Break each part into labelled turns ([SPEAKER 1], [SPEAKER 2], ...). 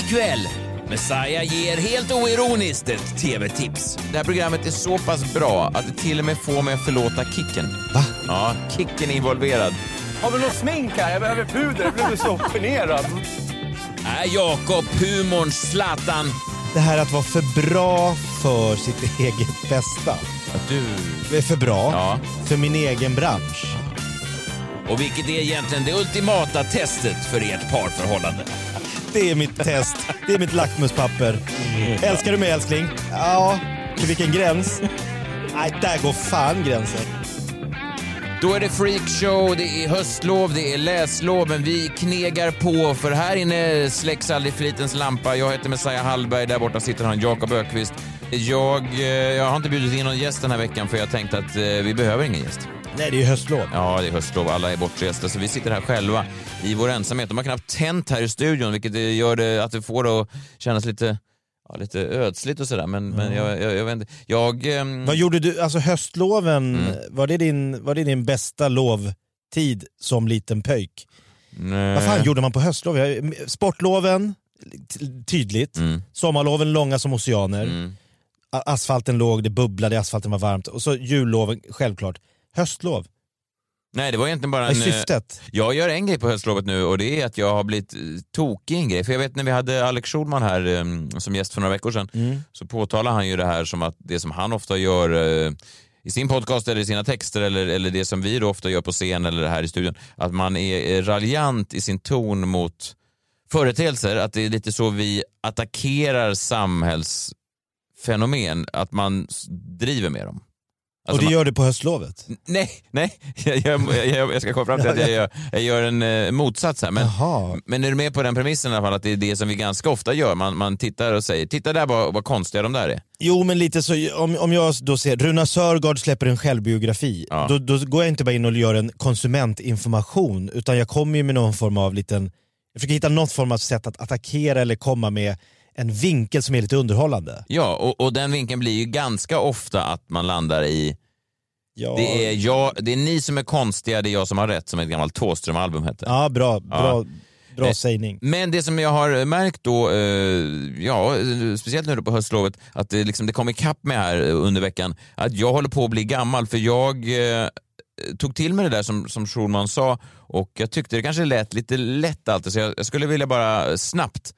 [SPEAKER 1] Ikväll, Messiah ger helt oironiskt ett TV-tips.
[SPEAKER 2] Det här programmet är så pass bra att det till och med får mig att förlåta Kicken. Va? Ja, Kicken är involverad.
[SPEAKER 3] Har vi något smink här? Jag behöver puder. Jag blev så generad.
[SPEAKER 1] Är Jakob humorns Zlatan?
[SPEAKER 4] Det här att vara för bra för sitt eget bästa.
[SPEAKER 2] Att du...
[SPEAKER 4] Det är för bra
[SPEAKER 2] Ja.
[SPEAKER 4] för min egen bransch.
[SPEAKER 1] Och vilket är egentligen det ultimata testet för ert parförhållande?
[SPEAKER 4] Det är mitt test. Det är mitt lackmuspapper. Älskar du mig älskling? Ja. Till vilken gräns? Nej, där går fan gränsen.
[SPEAKER 2] Då är det freakshow, det är höstlov, det är läslov, men vi knegar på för här inne släcks aldrig flitens lampa. Jag heter Messiah Hallberg, där borta sitter han, Jakob Ökvist. Jag, eh, jag har inte bjudit in någon gäst den här veckan för jag tänkte att eh, vi behöver ingen gäst.
[SPEAKER 4] Nej, det är ju höstlov.
[SPEAKER 2] Ja, det är höstlov. Alla är bortresta, så vi sitter här själva i vår ensamhet. De har knappt tänt här i studion, vilket eh, gör det att det får det att kännas lite, ja, lite ödsligt och sådär. Men, men jag, jag, jag vet inte. Jag... ehm,
[SPEAKER 4] Vad gjorde du, alltså höstloven, var, det din, var det din bästa lovtid som liten pöjk?
[SPEAKER 2] nej.
[SPEAKER 4] Vad fan gjorde man på höstlov? Jag- Sportloven, ty- tydligt.
[SPEAKER 2] Mm.
[SPEAKER 4] Sommarloven långa som oceaner. A- Asfalten låg, det bubblade, i asfalten var varmt. Och så julloven, självklart. Höstlov,
[SPEAKER 2] nej, det var egentligen bara
[SPEAKER 4] vad är
[SPEAKER 2] en... eh,
[SPEAKER 4] syftet?
[SPEAKER 2] Jag gör en grej på höstlovet nu och det är att jag har blivit eh, tokig i en grej. För jag vet när vi hade Alex Schulman här eh, som gäst för några veckor sedan
[SPEAKER 4] Mm.
[SPEAKER 2] så påtalar han ju det här som att det som han ofta gör eh, i sin podcast eller i sina texter eller, eller det som vi då ofta gör på scen eller här i studion. Att man är eh, raljant i sin ton mot företeelser. Att det är lite så vi attackerar samhällsfenomen. Att man s- driver med dem. Alltså
[SPEAKER 4] och det
[SPEAKER 2] man-
[SPEAKER 4] gör du på höstlovet?
[SPEAKER 2] Nej, nej. Jag, jag, jag, jag ska komma fram till att jag gör, jag gör en eh, motsats här. Men,
[SPEAKER 4] Jaha.
[SPEAKER 2] men är du med på den premissen i alla fall att det är det som vi ganska ofta gör? Man, man tittar och säger, titta där vad, vad konstiga de där är.
[SPEAKER 4] Jo men lite så, om, om jag då ser Runa Sörgård släpper en självbiografi,
[SPEAKER 2] Ja.
[SPEAKER 4] då, då går jag inte bara in och gör en konsumentinformation utan jag kommer ju med någon form av liten, jag försöker hitta något form av sätt att attackera eller komma med en vinkel som är lite underhållande.
[SPEAKER 2] Ja, och, och den vinkeln blir ju ganska ofta att man landar i,
[SPEAKER 4] Ja,
[SPEAKER 2] det, är jag, det är ni som är konstiga, det är jag som har rätt, som ett gammalt Thåström-album hette.
[SPEAKER 4] ja bra, bra, bra
[SPEAKER 2] Eh,
[SPEAKER 4] sägning.
[SPEAKER 2] Men det som jag har märkt då, eh, ja, eh, speciellt nu då på höstlovet, att det, liksom, det kom ikapp med här eh, under veckan, att jag håller på att bli gammal för jag eh, tog till mig det där som, som Schulman sa och jag tyckte det kanske lät lite lätt alltid så jag, jag skulle vilja bara eh, snabbt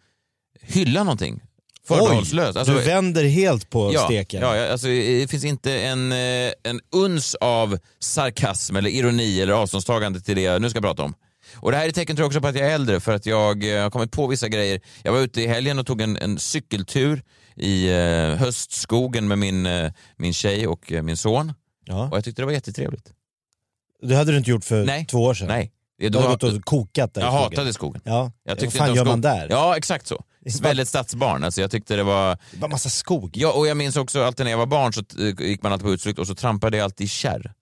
[SPEAKER 2] hylla någonting. Förbehållslöst. Alltså,
[SPEAKER 4] du vänder helt på
[SPEAKER 2] ja,
[SPEAKER 4] steken.
[SPEAKER 2] Ja, ja, alltså, det finns inte en, eh, en uns av sarkasm eller ironi eller avståndstagande till det jag nu ska prata om. Och det här är ett tecken tror jag också på att jag är äldre för att jag eh, har kommit på vissa grejer. Jag var ute i helgen och tog en, en cykeltur i eh, höstskogen med min, eh, min tjej och eh, min son
[SPEAKER 4] Ja.
[SPEAKER 2] och jag tyckte det var jättetrevligt.
[SPEAKER 4] Det hade du inte gjort för
[SPEAKER 2] Nej.
[SPEAKER 4] två år sedan.
[SPEAKER 2] Nej, det,
[SPEAKER 4] Du
[SPEAKER 2] då,
[SPEAKER 4] har
[SPEAKER 2] jag
[SPEAKER 4] gått och kokat där i skogen.
[SPEAKER 2] hatade skogen.
[SPEAKER 4] Ja.
[SPEAKER 2] Jag
[SPEAKER 4] Vad
[SPEAKER 2] tyckte
[SPEAKER 4] fan
[SPEAKER 2] inte om
[SPEAKER 4] gör man
[SPEAKER 2] skog.
[SPEAKER 4] där?
[SPEAKER 2] Ja, exakt så.
[SPEAKER 4] Det är bara-
[SPEAKER 2] Väldigt stadsbarn. Alltså, jag tyckte det var...
[SPEAKER 4] Det var massa skog.
[SPEAKER 2] Ja, och jag minns också alltid när jag var barn så eh, gick man alltid på utflykt och så trampade jag alltid i kärr.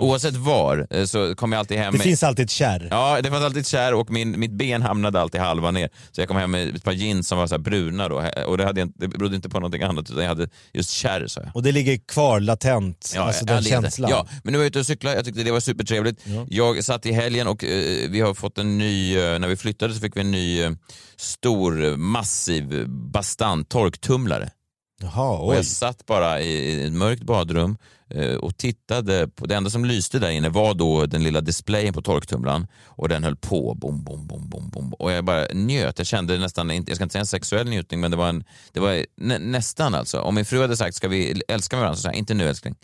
[SPEAKER 2] Oavsett var eh, så kom jag alltid hem
[SPEAKER 4] Mm. Det
[SPEAKER 2] med...
[SPEAKER 4] finns alltid ett kärr.
[SPEAKER 2] Ja, det fanns alltid ett kärr och min, mitt ben hamnade alltid halva ner. Så jag kom hem med ett par jeans som var så här bruna då. Eh, Och det, hade jag, inte- det berodde inte på någonting annat utan jag hade just kärr sa jag.
[SPEAKER 4] Och det ligger kvar latent, alltså den
[SPEAKER 2] jag levde.
[SPEAKER 4] känslan.
[SPEAKER 2] Ja, men nu var jag ute och cyklade, jag tyckte det var supertrevligt. Jag satt i helgen och eh, vi har fått en ny, eh, när vi flyttade så fick vi en ny eh, stor, eh, massiv, eh, bastant torktumlare.
[SPEAKER 4] Jaha,
[SPEAKER 2] Och
[SPEAKER 4] oj.
[SPEAKER 2] jag satt bara i ett mörkt badrum eh, och tittade. På, det enda som lyste där inne var då den lilla displayen på torktumlaren och den höll på. Bom, bom, bom, bom, bom. Och jag bara njöt. Jag kände nästan, inte- jag ska inte säga en sexuell njutning, men det var, en, det var nä, nästan alltså. Om min fru hade sagt ska vi älska varandra så sa jag inte nu älskling.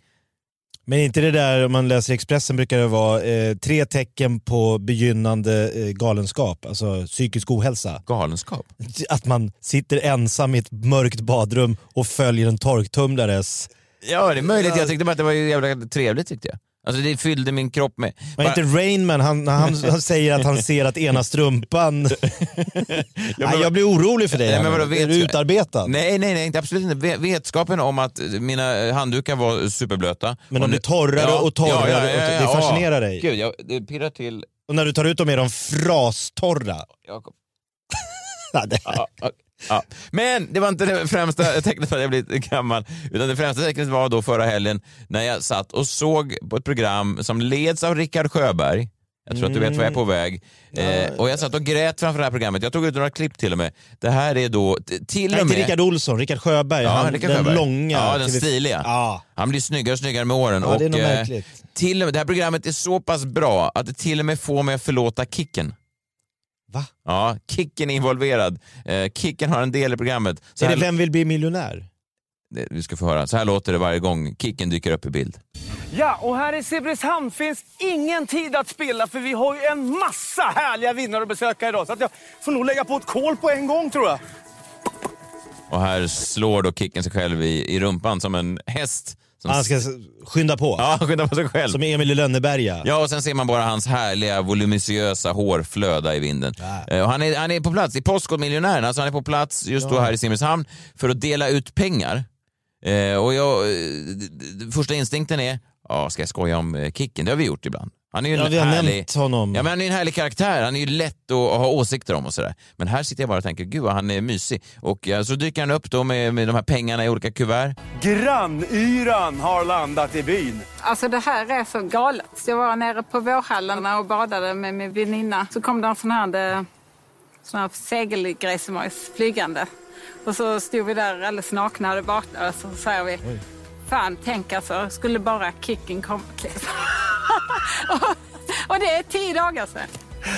[SPEAKER 4] Men inte det där, om man läser Expressen brukar det vara eh, tre tecken på begynnande eh, galenskap, alltså psykisk ohälsa.
[SPEAKER 2] Galenskap.
[SPEAKER 4] Att man sitter ensam i ett mörkt badrum och följer en torktumlares...
[SPEAKER 2] Ja, det är möjligt. Jag tyckte bara att det var ju jävla trevligt tyckte jag. Alltså det fyllde min kropp med...
[SPEAKER 4] Men inte Rainman, han, han, han säger att han ser att ena strumpan... Nej, jag blir orolig för dig.
[SPEAKER 2] Nej, men
[SPEAKER 4] Hanna.
[SPEAKER 2] vadå, vet
[SPEAKER 4] är du
[SPEAKER 2] jag-
[SPEAKER 4] utarbetad?
[SPEAKER 2] Nej, nej, nej, inte, absolut inte. Ve- Vetskapen om att mina handdukar var superblöta.
[SPEAKER 4] Men
[SPEAKER 2] Och
[SPEAKER 4] de
[SPEAKER 2] nu-
[SPEAKER 4] blir torrare och torrare och det fascinerar dig.
[SPEAKER 2] Gud, jag, det pirrar till.
[SPEAKER 4] Och när du tar ut dem är de frastorra.
[SPEAKER 2] Jakob.
[SPEAKER 4] Ja, det-
[SPEAKER 2] Ja, ja, ja. Men det var inte det främsta tecknet på att jag blivit gammal. Utan det främsta tecknet var då förra helgen när jag satt och såg på ett program som leds av Rickard Sjöberg. Jag tror att du vet vad jag är
[SPEAKER 4] Mm.
[SPEAKER 2] på väg. Eh, och jag satt och grät framför det här programmet. Jag tog ut några klipp till och med. Det här är då t- till
[SPEAKER 4] Nej,
[SPEAKER 2] och
[SPEAKER 4] inte
[SPEAKER 2] med...
[SPEAKER 4] Rickard Olsson, Rickard Sjöberg. han,
[SPEAKER 2] Rickard
[SPEAKER 4] den
[SPEAKER 2] Sjöberg.
[SPEAKER 4] långa.
[SPEAKER 2] Ja, den
[SPEAKER 4] TV4.
[SPEAKER 2] stiliga.
[SPEAKER 4] Ja.
[SPEAKER 2] Han blir snyggare och snyggare med åren.
[SPEAKER 4] Ja,
[SPEAKER 2] och,
[SPEAKER 4] det är nog
[SPEAKER 2] eh,
[SPEAKER 4] märkligt.
[SPEAKER 2] till och med, det här programmet är så pass bra att det till och med får mig att förlåta Kicken.
[SPEAKER 4] Va?
[SPEAKER 2] Ja, Kicken är involverad. Eh, kicken har en del i programmet. Så
[SPEAKER 4] Är det
[SPEAKER 2] här,
[SPEAKER 4] Vem vill bli miljonär?
[SPEAKER 2] det- du ska få höra. Så här låter det varje gång Kicken dyker upp i bild.
[SPEAKER 3] Ja, och här i Simrishamn finns ingen tid att spilla för vi har ju en massa härliga vinnare att besöka idag. Så att jag får nog lägga på ett kol på en gång tror jag.
[SPEAKER 2] Och här slår då Kicken sig själv i, i rumpan som en häst. Som
[SPEAKER 4] Han ska s- skynda på.
[SPEAKER 2] Ja, skynda på sig själv.
[SPEAKER 4] Som Emil i Lönneberga.
[SPEAKER 2] Ja, och sen ser man bara hans härliga voluminösa hår flöda i vinden. Eh, Och han, är, han är på plats i Postkodmiljonären, alltså han är på plats just då här i Simrishamn för att dela ut pengar. Eh, och jag, eh, d- d- första instinkten är, ja, ska jag skoja om eh, Kicken? Det har vi gjort ibland. Han är ju en
[SPEAKER 4] Ja, vi har
[SPEAKER 2] härlig...
[SPEAKER 4] nämnt honom.
[SPEAKER 2] Ja, men han är ju en härlig karaktär, han är ju lätt att ha åsikter om och sådär. Men här sitter jag bara och tänker, gud vad han är mysig. Och eh, så dyker han upp då med, med de här pengarna i olika kuvert.
[SPEAKER 3] Grannyran har landat i byn.
[SPEAKER 5] Alltså det här är så galet. Jag var nere på Vårhallarna och badade med min väninna. Så kom det en sån här, eh, sån här segelgrej som var flygande. Och så stod vi där alldeles nakna och hade badat och så säger vi Fan, tänk alltså, skulle bara kicken kommit liksom. och, och det är tio dagar sedan.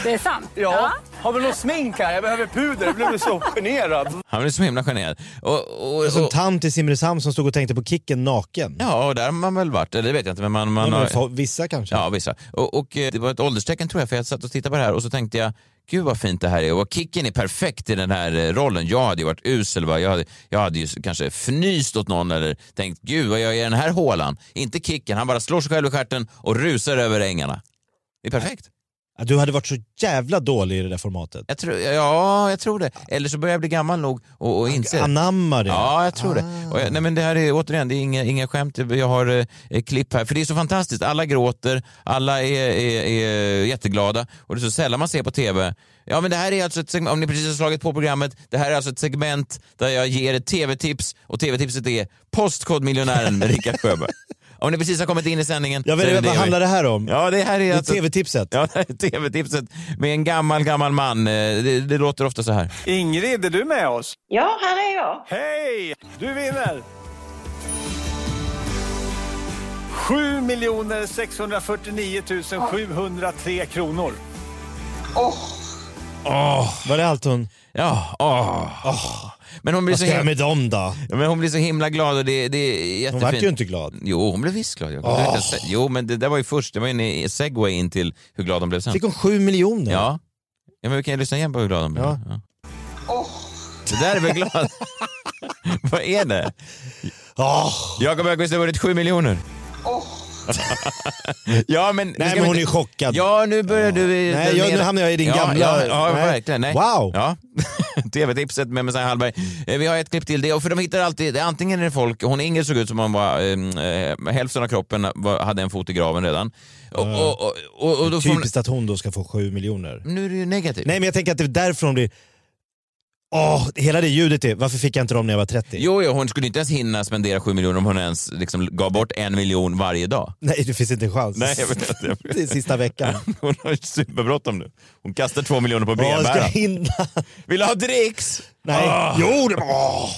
[SPEAKER 5] Det är sant.
[SPEAKER 3] Ja, har vi något smink här? Jag behöver puder. Jag blev så generad.
[SPEAKER 2] Han är så himla generad. Och, och, och,
[SPEAKER 4] Som tant i Simrishamn som stod och tänkte på Kicken naken.
[SPEAKER 2] ja, och där har man väl varit, eller det vet jag inte, men man, man
[SPEAKER 4] Men
[SPEAKER 2] har...
[SPEAKER 4] för- Vissa kanske.
[SPEAKER 2] Ja, vissa. Och, och eh, det var ett ålderstecken tror jag, för jag satt och tittade på det här och så tänkte jag, gud vad fint det här är och kicken är perfekt i den här eh, rollen. Jag hade ju varit usel, va? jag, hade, jag hade ju s- kanske fnyst åt någon eller tänkt, gud vad jag är i den här hålan. Inte kicken, han bara slår sig själv i stjärten och rusar över ängarna. Det är perfekt.
[SPEAKER 4] Du hade varit så jävla dålig i det där formatet.
[SPEAKER 2] Jag tror, ja, jag tror det. Eller så börjar jag bli gammal nog och, och inse det.
[SPEAKER 4] Anamma det.
[SPEAKER 2] Ja, jag tror
[SPEAKER 4] Ah.
[SPEAKER 2] det. Och jag, nej, men det här är återigen, det är inga, inga skämt. Jag har eh, eh, klipp här. För det är så fantastiskt. Alla gråter, alla är, är, är jätteglada och det är så sällan man ser på TV. Ja, men det här är alltså ett segment, om ni precis har slagit på programmet, det här är alltså ett segment där jag ger ett TV-tips och TV-tipset är Postkodmiljonären med Rickard Sjöberg. Om ni precis har kommit in i sändningen
[SPEAKER 4] Jag vet,
[SPEAKER 2] så är
[SPEAKER 4] inte,
[SPEAKER 2] det
[SPEAKER 4] vad
[SPEAKER 2] vi-
[SPEAKER 4] handlar det här om?
[SPEAKER 2] Ja, det här är
[SPEAKER 4] det är
[SPEAKER 2] alltså...
[SPEAKER 4] tv-tipset.
[SPEAKER 2] Ja, det här är TV-tipset med en gammal, gammal man. Eh, Det, det låter ofta så här.
[SPEAKER 3] Ingrid, är du med oss?
[SPEAKER 6] Ja, här är jag.
[SPEAKER 3] Hej! Du vinner! 7 649 703 kronor.
[SPEAKER 4] Var det allt hon...
[SPEAKER 2] Ja, åh. Men hon blir
[SPEAKER 4] Vad
[SPEAKER 2] så
[SPEAKER 4] ska jag
[SPEAKER 2] himla-
[SPEAKER 4] med dem då?
[SPEAKER 2] Ja, Men hon blir så himla glad och det, det är
[SPEAKER 4] Hon
[SPEAKER 2] jättefint.
[SPEAKER 4] vart ju inte glad.
[SPEAKER 2] Jo, hon blev visst glad. Jakob. Det vet jag inte. Jo, men det där var ju först. Det var ju en segway in till hur glad hon blev sen.
[SPEAKER 4] Fick hon sju miljoner?
[SPEAKER 2] Ja. ja, men vi kan ju lyssna igen på hur glad hon blev. Ja.
[SPEAKER 4] Ja.
[SPEAKER 2] Det där är väl glad? Vad är det?
[SPEAKER 4] Åh.
[SPEAKER 2] Jakob Öqvist har vunnit sju miljoner. ja, men...
[SPEAKER 4] Nej, men hon är chockad.
[SPEAKER 2] Ja, nu börjar du... i-
[SPEAKER 4] Nej, jag- nu hamnar jag i din
[SPEAKER 2] ja,
[SPEAKER 4] gamla-
[SPEAKER 2] Ja, ja
[SPEAKER 4] Nej.
[SPEAKER 2] verkligen. Nej.
[SPEAKER 4] Wow.
[SPEAKER 2] Ja. TV-tipset med Messiah Hallberg. Eh, Vi har ett klipp till det, och för de hittar alltid, det är antingen är det folk, hon Ingrid såg ut som om hon var, eh, eh, hälften av kroppen var, hade en fot i graven redan. Och, och, och, och, och då får
[SPEAKER 4] Ah. Typiskt att hon då ska få sju miljoner.
[SPEAKER 2] man, nu är det ju negativt.
[SPEAKER 4] Nej men jag tänker att det är därför hon blir... Åh, hela det ljudet är, varför fick jag inte dem när jag var 30?
[SPEAKER 2] Jo, jo, hon skulle inte ens hinna spendera sju miljoner om hon ens liksom, gav bort en miljon varje dag.
[SPEAKER 4] Nej, det finns inte en chans.
[SPEAKER 2] Nej, jag vet inte.
[SPEAKER 4] Det är sista veckan.
[SPEAKER 2] Hon har ju superbråttom nu. Hon kastar två miljoner på
[SPEAKER 4] Åh, ska jag
[SPEAKER 2] brevbäraren. Ah.
[SPEAKER 4] hinna?
[SPEAKER 2] Vill du ha dricks?
[SPEAKER 4] Nej. Jo, det var... Åh.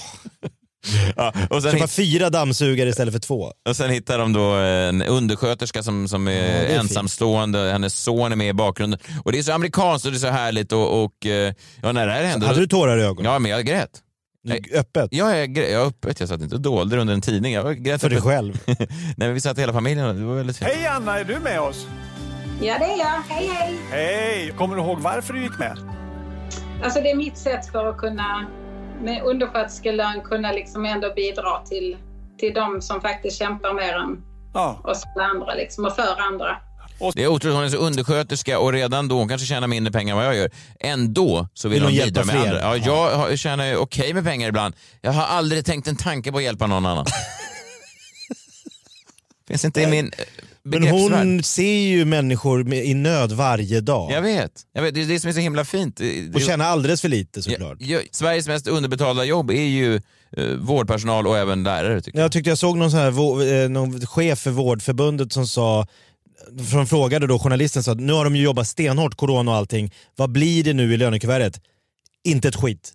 [SPEAKER 2] Ja, och, sen
[SPEAKER 4] Köpa
[SPEAKER 2] hit,
[SPEAKER 4] fyra dammsugare istället för två.
[SPEAKER 2] och sen hittar de då en undersköterska som, som är,
[SPEAKER 4] är fint.
[SPEAKER 2] ensamstående. Hennes son är med i bakgrunden. Och det är så amerikanskt och det är så härligt och, och eh, ja, när det här hände...
[SPEAKER 4] Hade du tårar i ögonen?
[SPEAKER 2] Ja, men jag grät.
[SPEAKER 4] Du- Öppet?
[SPEAKER 2] Ja, jag, grä, jag, öppet, jag satt inte och dolde det under en tidning. Jag grät
[SPEAKER 4] För dig
[SPEAKER 2] öppet.
[SPEAKER 4] själv?
[SPEAKER 2] Nej, men vi satt hela familjen och det var väldigt fint.
[SPEAKER 3] Hej Anna, är du med oss?
[SPEAKER 6] Ja, det är jag. Hej, hej.
[SPEAKER 3] Hej! Kommer du ihåg varför du gick med?
[SPEAKER 5] Alltså det är mitt sätt för att kunna med undersköterskelön kunna liksom ändå bidra till, till de som faktiskt kämpar mer än,
[SPEAKER 3] Ja.
[SPEAKER 6] och så alla andra liksom, och för andra.
[SPEAKER 2] Det är otroligt, hon är så undersköterska och redan då, hon kanske tjänar mindre pengar än vad jag gör, ändå så vill,
[SPEAKER 4] Vill
[SPEAKER 2] hon
[SPEAKER 4] hon
[SPEAKER 2] bidra
[SPEAKER 4] hjälpa
[SPEAKER 2] med
[SPEAKER 4] fler?
[SPEAKER 2] andra. Ja, jag har- tjänar ju okej med pengar ibland. Jag har aldrig tänkt en tanke på att hjälpa någon annan. Finns inte i min eh,
[SPEAKER 4] Men
[SPEAKER 2] begreppsvärld.
[SPEAKER 4] hon ser ju människor med, i nöd varje dag.
[SPEAKER 2] Jag vet. Jag vet. Det är det som är så himla fint. Det- det-
[SPEAKER 4] och tjänar alldeles för lite såklart.
[SPEAKER 2] Ja, ja, Sveriges mest underbetalda jobb är ju eh, vårdpersonal och även lärare tycker jag.
[SPEAKER 4] Jag tyckte jag såg någon, sån här, vå- eh, någon chef för Vårdförbundet som sa som frågade då journalisten, sa, nu har de ju jobbat stenhårt, corona och allting. Vad blir det nu i lönekuvertet? Inte ett skit,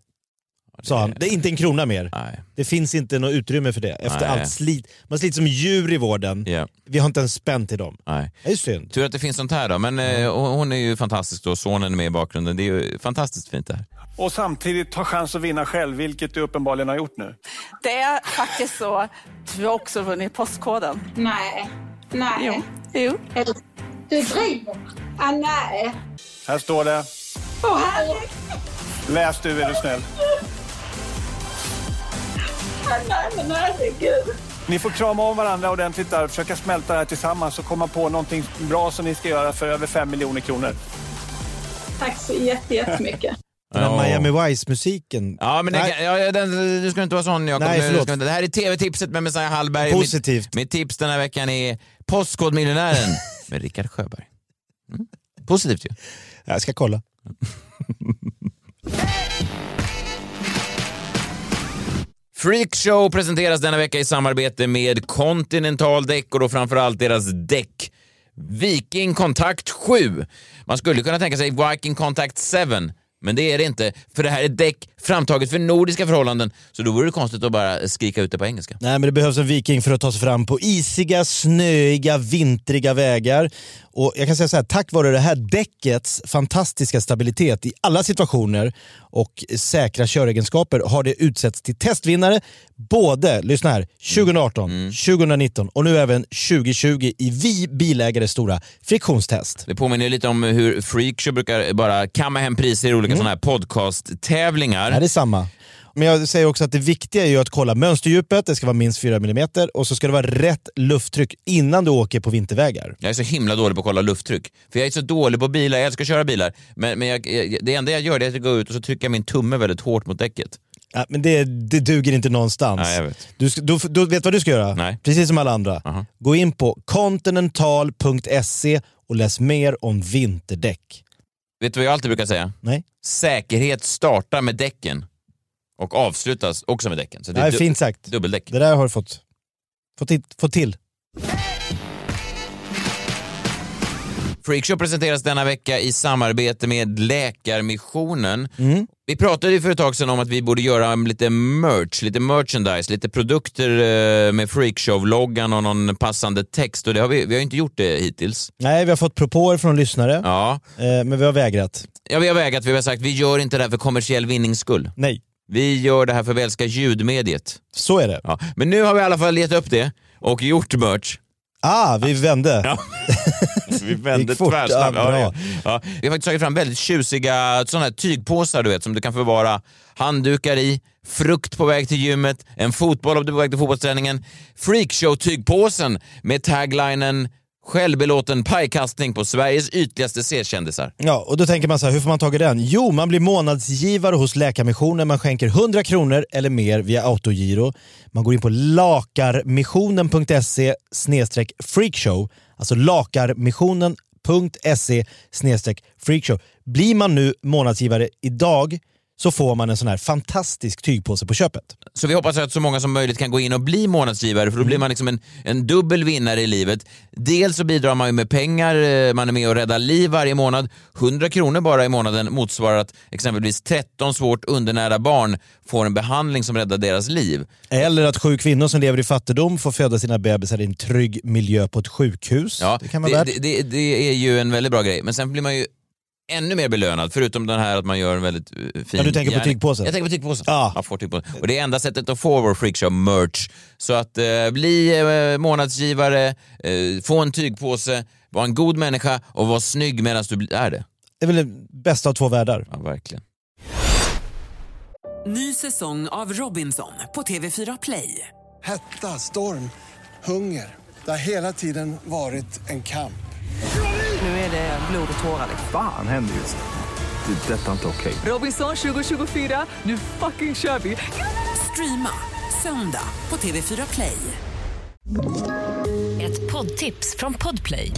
[SPEAKER 4] sa han. Det är inte en krona mer.
[SPEAKER 2] Nej.
[SPEAKER 4] Det finns inte något utrymme för det. Efter
[SPEAKER 2] Nej.
[SPEAKER 4] allt slit. Man sliter som djur i vården.
[SPEAKER 2] Ja,
[SPEAKER 4] Vi har inte en spänn till dem.
[SPEAKER 2] nej.
[SPEAKER 4] Det är synd.
[SPEAKER 2] Tur att det finns sånt här då, men eh, hon hon är ju fantastisk då, sonen är med i bakgrunden. Det är ju fantastiskt fint det här.
[SPEAKER 3] Och samtidigt ta chans att vinna själv, vilket du uppenbarligen har gjort nu.
[SPEAKER 5] Det är faktiskt så. Du har också vunnit Postkoden.
[SPEAKER 6] Nej, nej.
[SPEAKER 5] Jo.
[SPEAKER 6] Du driver? Ah, nej.
[SPEAKER 3] Här står det.
[SPEAKER 6] Åh herregud,
[SPEAKER 3] Läs du är du snäll.
[SPEAKER 6] ah, nej men herregud.
[SPEAKER 3] Ni får krama om varandra ordentligt där och försöka smälta det här tillsammans och komma på någonting bra som ni ska göra för över 5 miljoner kronor.
[SPEAKER 6] Tack så jätte, jättemycket.
[SPEAKER 4] Den här
[SPEAKER 2] Ja.
[SPEAKER 4] Miami Vice-musiken.
[SPEAKER 2] Ja, men det,
[SPEAKER 4] Nej.
[SPEAKER 2] kan- ja, ja, den, du ska inte vara sån Jakob.
[SPEAKER 4] Nej,
[SPEAKER 2] Nu ska
[SPEAKER 4] förlåt.
[SPEAKER 2] vi inte- Det här är TV-tipset med Messiah Hallberg.
[SPEAKER 4] Positivt.
[SPEAKER 2] Mitt, mitt tips den här veckan är Postkodmiljonären med Rickard Sjöberg. Mm. Positivt ju.
[SPEAKER 4] Jag ska kolla.
[SPEAKER 2] Freakshow presenteras denna vecka i samarbete med Continental Däck och då framförallt deras däck Viking Contact 7. Man skulle kunna tänka sig Viking Contact 7, men det är det inte, för det här är däck framtaget för nordiska förhållanden, så då vore det konstigt att bara skrika ut det på engelska.
[SPEAKER 4] Nej, men det behövs en viking för att ta sig fram på isiga, snöiga, vintriga vägar. Och jag kan säga så här, tack vare det här däckets fantastiska stabilitet i alla situationer och säkra köregenskaper har det utsetts till testvinnare både, lyssna här, 2018, 2019 och nu även 2020 i Vi bilägares stora friktionstest.
[SPEAKER 2] Det påminner ju lite om hur Freakshow brukar bara kamma hem priser i olika sådana här podcast-tävlingar.
[SPEAKER 4] Ja, det Mm. är samma. Men jag säger också att det viktiga är ju att kolla mönsterdjupet, det ska vara minst 4 mm och så ska det vara rätt lufttryck innan du åker på vintervägar.
[SPEAKER 2] Jag är så himla dålig på att kolla lufttryck. För jag är så dålig på bilar, jag älskar att köra bilar. Men, men jag, jag, det enda jag gör det är att gå ut och så trycker jag min tumme väldigt hårt mot däcket.
[SPEAKER 4] Ja, men det, det duger inte någonstans.
[SPEAKER 2] Nej, jag vet.
[SPEAKER 4] Du, ska- du, du vet vad du ska göra?
[SPEAKER 2] Nej.
[SPEAKER 4] Precis som alla andra. Gå in på continental.se och läs mer om vinterdäck.
[SPEAKER 2] Vet du vad jag alltid brukar säga?
[SPEAKER 4] Nej,
[SPEAKER 2] Säkerhet startar med däcken och avslutas också med däcken. Så
[SPEAKER 4] det
[SPEAKER 2] det
[SPEAKER 4] är
[SPEAKER 2] är
[SPEAKER 4] fint sagt.
[SPEAKER 2] dubbeldäck.
[SPEAKER 4] Det där har du fått, fått, till, fått till.
[SPEAKER 2] Freakshow presenteras denna vecka i samarbete med Läkarmissionen. Vi pratade ju för ett tag sedan om att vi borde göra lite merch, lite merchandise, lite produkter eh, med Freakshow-loggan och någon passande text och det har vi, vi har ju inte gjort det hittills.
[SPEAKER 4] Nej, vi har fått propåer från lyssnare,
[SPEAKER 2] Ja.
[SPEAKER 4] eh, men vi har vägrat.
[SPEAKER 2] Ja, vi har vägat, vi har sagt vi gör inte det här för kommersiell vinnings skull.
[SPEAKER 4] Nej,
[SPEAKER 2] Vi gör det här för att vi älskar ljudmediet.
[SPEAKER 4] så är det.
[SPEAKER 2] Ja. Men nu har vi i alla fall gett upp det och gjort merch.
[SPEAKER 4] Ah, vi vände. Ja.
[SPEAKER 2] Vi vände
[SPEAKER 4] gick fort.
[SPEAKER 2] tvärsnabbt.
[SPEAKER 4] Ja,
[SPEAKER 2] Ja,
[SPEAKER 4] bra.
[SPEAKER 2] ja. Ja. Vi har faktiskt tagit fram väldigt tjusiga såna här tygpåsar du vet, som du kan förvara handdukar i, frukt på väg till gymmet, en fotboll om du är på väg till fotbollsträningen. Freakshow-tygpåsen med taglinen “Självbelåten pajkastning på Sveriges ytligaste C-kändisar”.
[SPEAKER 4] och då tänker man så här, hur får man tag i den? Jo, man blir månadsgivare hos Läkarmissionen. Man skänker 100 kronor eller mer via autogiro. Man går in på lakarmissionen.se snedstreck freakshow. Alltså lakarmissionen.se snedstreck freakshow. Blir man nu månadsgivare idag så får man en sån här fantastisk tygpåse på köpet.
[SPEAKER 2] Så vi hoppas att så många som möjligt kan gå in och bli månadsgivare för då blir man liksom en, en dubbel vinnare i livet. Dels så bidrar man ju med pengar, eh, man är med och räddar liv varje månad. 100 kronor bara i månaden motsvarar att exempelvis 13 svårt undernärda barn får en behandling som räddar deras liv.
[SPEAKER 4] Eller att sju kvinnor som lever i fattigdom får föda sina bebisar i en trygg miljö på ett sjukhus.
[SPEAKER 2] Ja,
[SPEAKER 4] det kan vara värt.
[SPEAKER 2] det, det, det är ju en väldigt bra grej, men sen blir man ju ännu mer belönad, förutom den här att man gör en väldigt eh, fin
[SPEAKER 4] Ja, du tänker på
[SPEAKER 2] gärning.
[SPEAKER 4] tygpåsen?
[SPEAKER 2] Jag tänker på tygpåsen.
[SPEAKER 4] Ja.
[SPEAKER 2] Jag får tygpåsen. Och det är enda sättet att få vår freakshow-merch. Så att eh, bli eh, månadsgivare, eh, få en tygpåse, vara en god människa och vara snygg medan du blir- är det.
[SPEAKER 4] Det är väl det bästa av två världar.
[SPEAKER 2] Ja, verkligen.
[SPEAKER 7] Ny säsong av Robinson på TV4 Play.
[SPEAKER 8] Hetta, storm, hunger. Det har hela tiden varit en kamp.
[SPEAKER 7] Nu är det blod och tårar. liksom.
[SPEAKER 9] Fan händer just nu. Det. är Detta är inte okej.
[SPEAKER 7] Robinson 2024, nu fucking kör vi! Streama söndag på TV4 Play.
[SPEAKER 10] Ett poddtips från Podplay.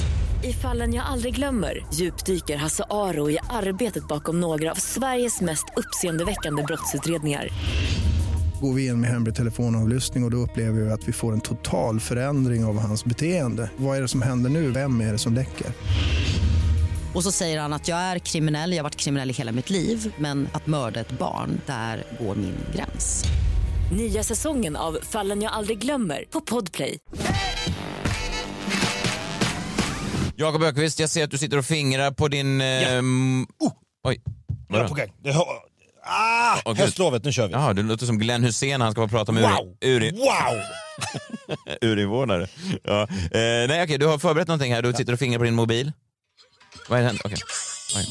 [SPEAKER 10] I fallen jag aldrig glömmer djupdyker Hasse Aro i arbetet bakom några av Sveriges mest uppseendeväckande brottsutredningar.
[SPEAKER 11] Går vi in med hemlig telefonavlyssning och, och då upplever vi att vi får en total förändring av hans beteende. Vad är det som händer nu? Vem är det som läcker?
[SPEAKER 12] Och så säger han att jag är kriminell, jag har varit kriminell i hela mitt liv men att mörda ett barn, där går min gräns.
[SPEAKER 10] Nya säsongen av Fallen jag aldrig glömmer på Podplay.
[SPEAKER 2] Jakob Ökvist, jag ser att du sitter och fingrar på din... ehm, Oj.
[SPEAKER 4] Oh! Jag är på
[SPEAKER 2] Vadå?
[SPEAKER 4] gång. Det har... Ah,
[SPEAKER 2] Åh, gud.
[SPEAKER 4] höstlovet, nu kör vi.
[SPEAKER 2] Jaha, det låter som Glenn Hussein han ska bara prata med
[SPEAKER 4] Wow!
[SPEAKER 2] ur, ur,
[SPEAKER 4] Wow!
[SPEAKER 2] urinvånare. Ja. Eh, nej, okej, du har förberett någonting här. Du sitter och fingrar på din mobil. Vad är det här? Okej. Oj.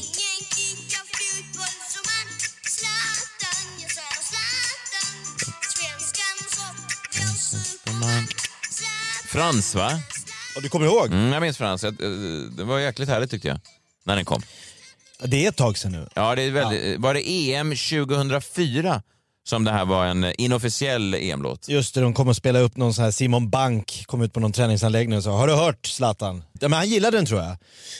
[SPEAKER 2] Frans, va?
[SPEAKER 4] Och du kommer ihåg?
[SPEAKER 2] Mm, jag minns Frans. Jag, eh, det var jäkligt härligt tyckte jag. När den kom.
[SPEAKER 4] Det är ett tag sedan nu.
[SPEAKER 2] Ja, det är väldigt, Var det EM 2004 som det här var en eh, inofficiell EM-låt?
[SPEAKER 4] Just det, de kom och spelade upp någon sån här Simon Bank kom ut på någon träningsanläggning och sa “Har du hört Zlatan?” ja, men Han gillade den tror jag.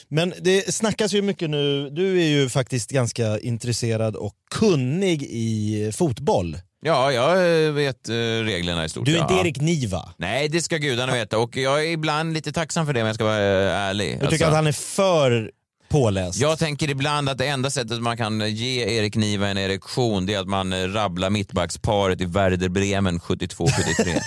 [SPEAKER 4] Men det snackas ju mycket nu, du är ju faktiskt ganska intresserad och kunnig i fotboll.
[SPEAKER 2] Ja, jag eh, vet eh, reglerna i stort.
[SPEAKER 4] Du är
[SPEAKER 2] ja.
[SPEAKER 4] inte Erik Niva.
[SPEAKER 2] Nej, det ska gudarna veta. Och jag är ibland lite tacksam för det om jag ska vara eh, ärlig.
[SPEAKER 4] Du tycker
[SPEAKER 2] Alltså,
[SPEAKER 4] att han är för påläst?
[SPEAKER 2] Jag tänker ibland att det enda sättet man kan ge Erik Niva en erektion det är att man eh, rabblar mittbacksparet i Werder Bremen 72-73.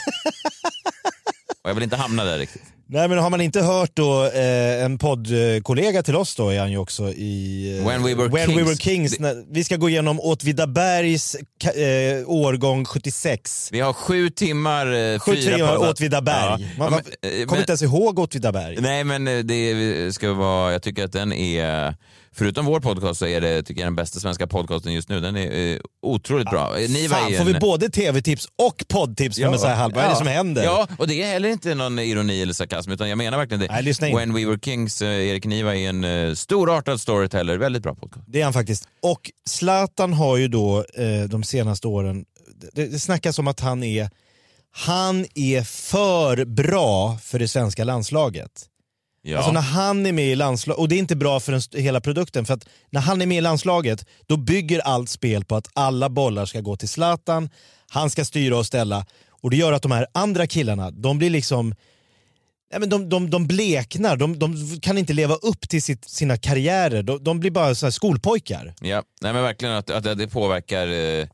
[SPEAKER 2] Och jag vill inte hamna där riktigt.
[SPEAKER 4] Nej men har man inte hört då, eh, en poddkollega till oss då är han ju också i... eh,
[SPEAKER 2] When We Were
[SPEAKER 4] When
[SPEAKER 2] Kings.
[SPEAKER 4] We Were Kings. när, vi ska gå igenom Åtvidabergs ka- eh, årgång 76.
[SPEAKER 2] Vi har sju timmar... eh,
[SPEAKER 4] Sju
[SPEAKER 2] fyra
[SPEAKER 4] tre år
[SPEAKER 2] poddar.
[SPEAKER 4] Åtvidaberg.
[SPEAKER 2] Ja. Ja,
[SPEAKER 4] Man, man
[SPEAKER 2] men, eh,
[SPEAKER 4] kommer
[SPEAKER 2] men-
[SPEAKER 4] inte ens ihåg Åtvidaberg.
[SPEAKER 2] Nej men eh, det ska vara, jag tycker att den är, förutom vår podcast så är det tycker jag, den bästa svenska podcasten just nu. Den är eh, otroligt bra. Eh, Niva är
[SPEAKER 4] Ah, Fan,
[SPEAKER 2] ju
[SPEAKER 4] får
[SPEAKER 2] en-
[SPEAKER 4] vi både tv-tips och poddtips med Messiah Hallberg? Vad är det som händer?
[SPEAKER 2] Ja, och det är heller inte någon ironi eller sarkasm utan jag menar verkligen det.
[SPEAKER 4] Nej, lyssna in.
[SPEAKER 2] When We Were Kings, eh, Erik Niva är en eh, storartad storyteller, väldigt bra podcast.
[SPEAKER 4] Det är han faktiskt. Och Zlatan har ju då eh, de senaste åren, det, det snackas om att han är, han är för bra för det svenska landslaget.
[SPEAKER 2] Ja.
[SPEAKER 4] Alltså när han är med i landslaget, och det är inte bra för den, st- hela produkten, för att när han är med i landslaget då bygger allt spel på att alla bollar ska gå till Zlatan, han ska styra och ställa och det gör att de här andra killarna, de blir liksom Nej, men de, de, de bleknar, de, de kan inte leva upp till sitt, sina karriärer. De, de blir bara så här skolpojkar.
[SPEAKER 2] Ja, nej men verkligen att, att det påverkar, eh,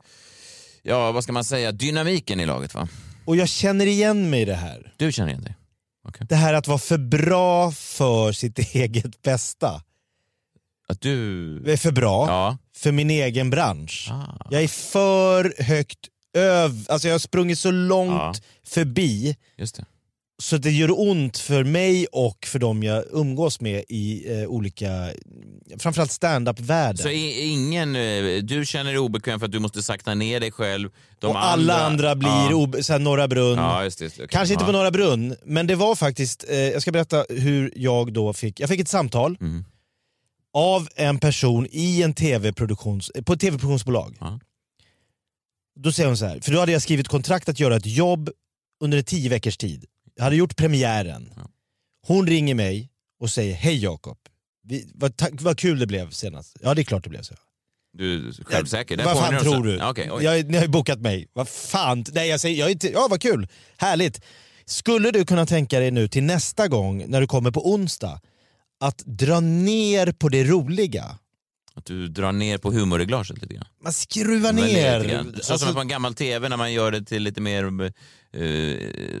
[SPEAKER 2] ja vad ska man säga, dynamiken i laget va?
[SPEAKER 4] Och jag känner igen mig i det här.
[SPEAKER 2] Du känner igen dig?
[SPEAKER 4] Det här att vara för bra för sitt eget bästa.
[SPEAKER 2] Att du...
[SPEAKER 4] Det är För bra.
[SPEAKER 2] Ja.
[SPEAKER 4] för min egen bransch.
[SPEAKER 2] Ah.
[SPEAKER 4] Jag är för högt öv... Alltså jag har sprungit så långt
[SPEAKER 2] Ja.
[SPEAKER 4] förbi
[SPEAKER 2] Just det.
[SPEAKER 4] så att det gör ont för mig och för dem jag umgås med i eh, olika, framförallt
[SPEAKER 2] Så
[SPEAKER 4] standup-världen.
[SPEAKER 2] i- ingen, eh, du känner dig obekväm för att du måste sakta ner dig själv. De
[SPEAKER 4] Och alla andra, blir
[SPEAKER 2] ja.
[SPEAKER 4] obe- så här Norra Brunn.
[SPEAKER 2] Ja, just det, just det. Okej.
[SPEAKER 4] Kanske inte
[SPEAKER 2] ja.
[SPEAKER 4] på Norra Brunn, men det var faktiskt, eh, jag ska berätta hur jag då fick, jag fick ett samtal
[SPEAKER 2] Mm.
[SPEAKER 4] av en person i en TV-produktions, eh, på ett TV-produktionsbolag.
[SPEAKER 2] Ja.
[SPEAKER 4] Då säger hon så här, för då hade jag skrivit kontrakt att göra ett jobb under en tio veckors tid. Jag hade gjort premiären.
[SPEAKER 2] Ja.
[SPEAKER 4] Hon ringer mig och säger, hej Jakob, Vi- vad, tack- vad kul det blev senast. Ja det är klart det blev så.
[SPEAKER 2] Du är självsäker? Där
[SPEAKER 4] Vad
[SPEAKER 2] påminner
[SPEAKER 4] fan
[SPEAKER 2] de så-
[SPEAKER 4] tror du?
[SPEAKER 2] Ja, okej, oj.
[SPEAKER 4] jag, ni har ju bokat mig. Vad fan? Nej, jag säger, jag är inte, ja vad kul, härligt. Skulle du kunna tänka dig nu till nästa gång när du kommer på onsdag att dra ner på det roliga?
[SPEAKER 2] Att du drar ner på humorreglaget lite grann.
[SPEAKER 4] Man skruvar
[SPEAKER 2] Men det är
[SPEAKER 4] ner.
[SPEAKER 2] lite grann. Så
[SPEAKER 4] Alltså,
[SPEAKER 2] som på en gammal TV när man gör det till lite mer, eh,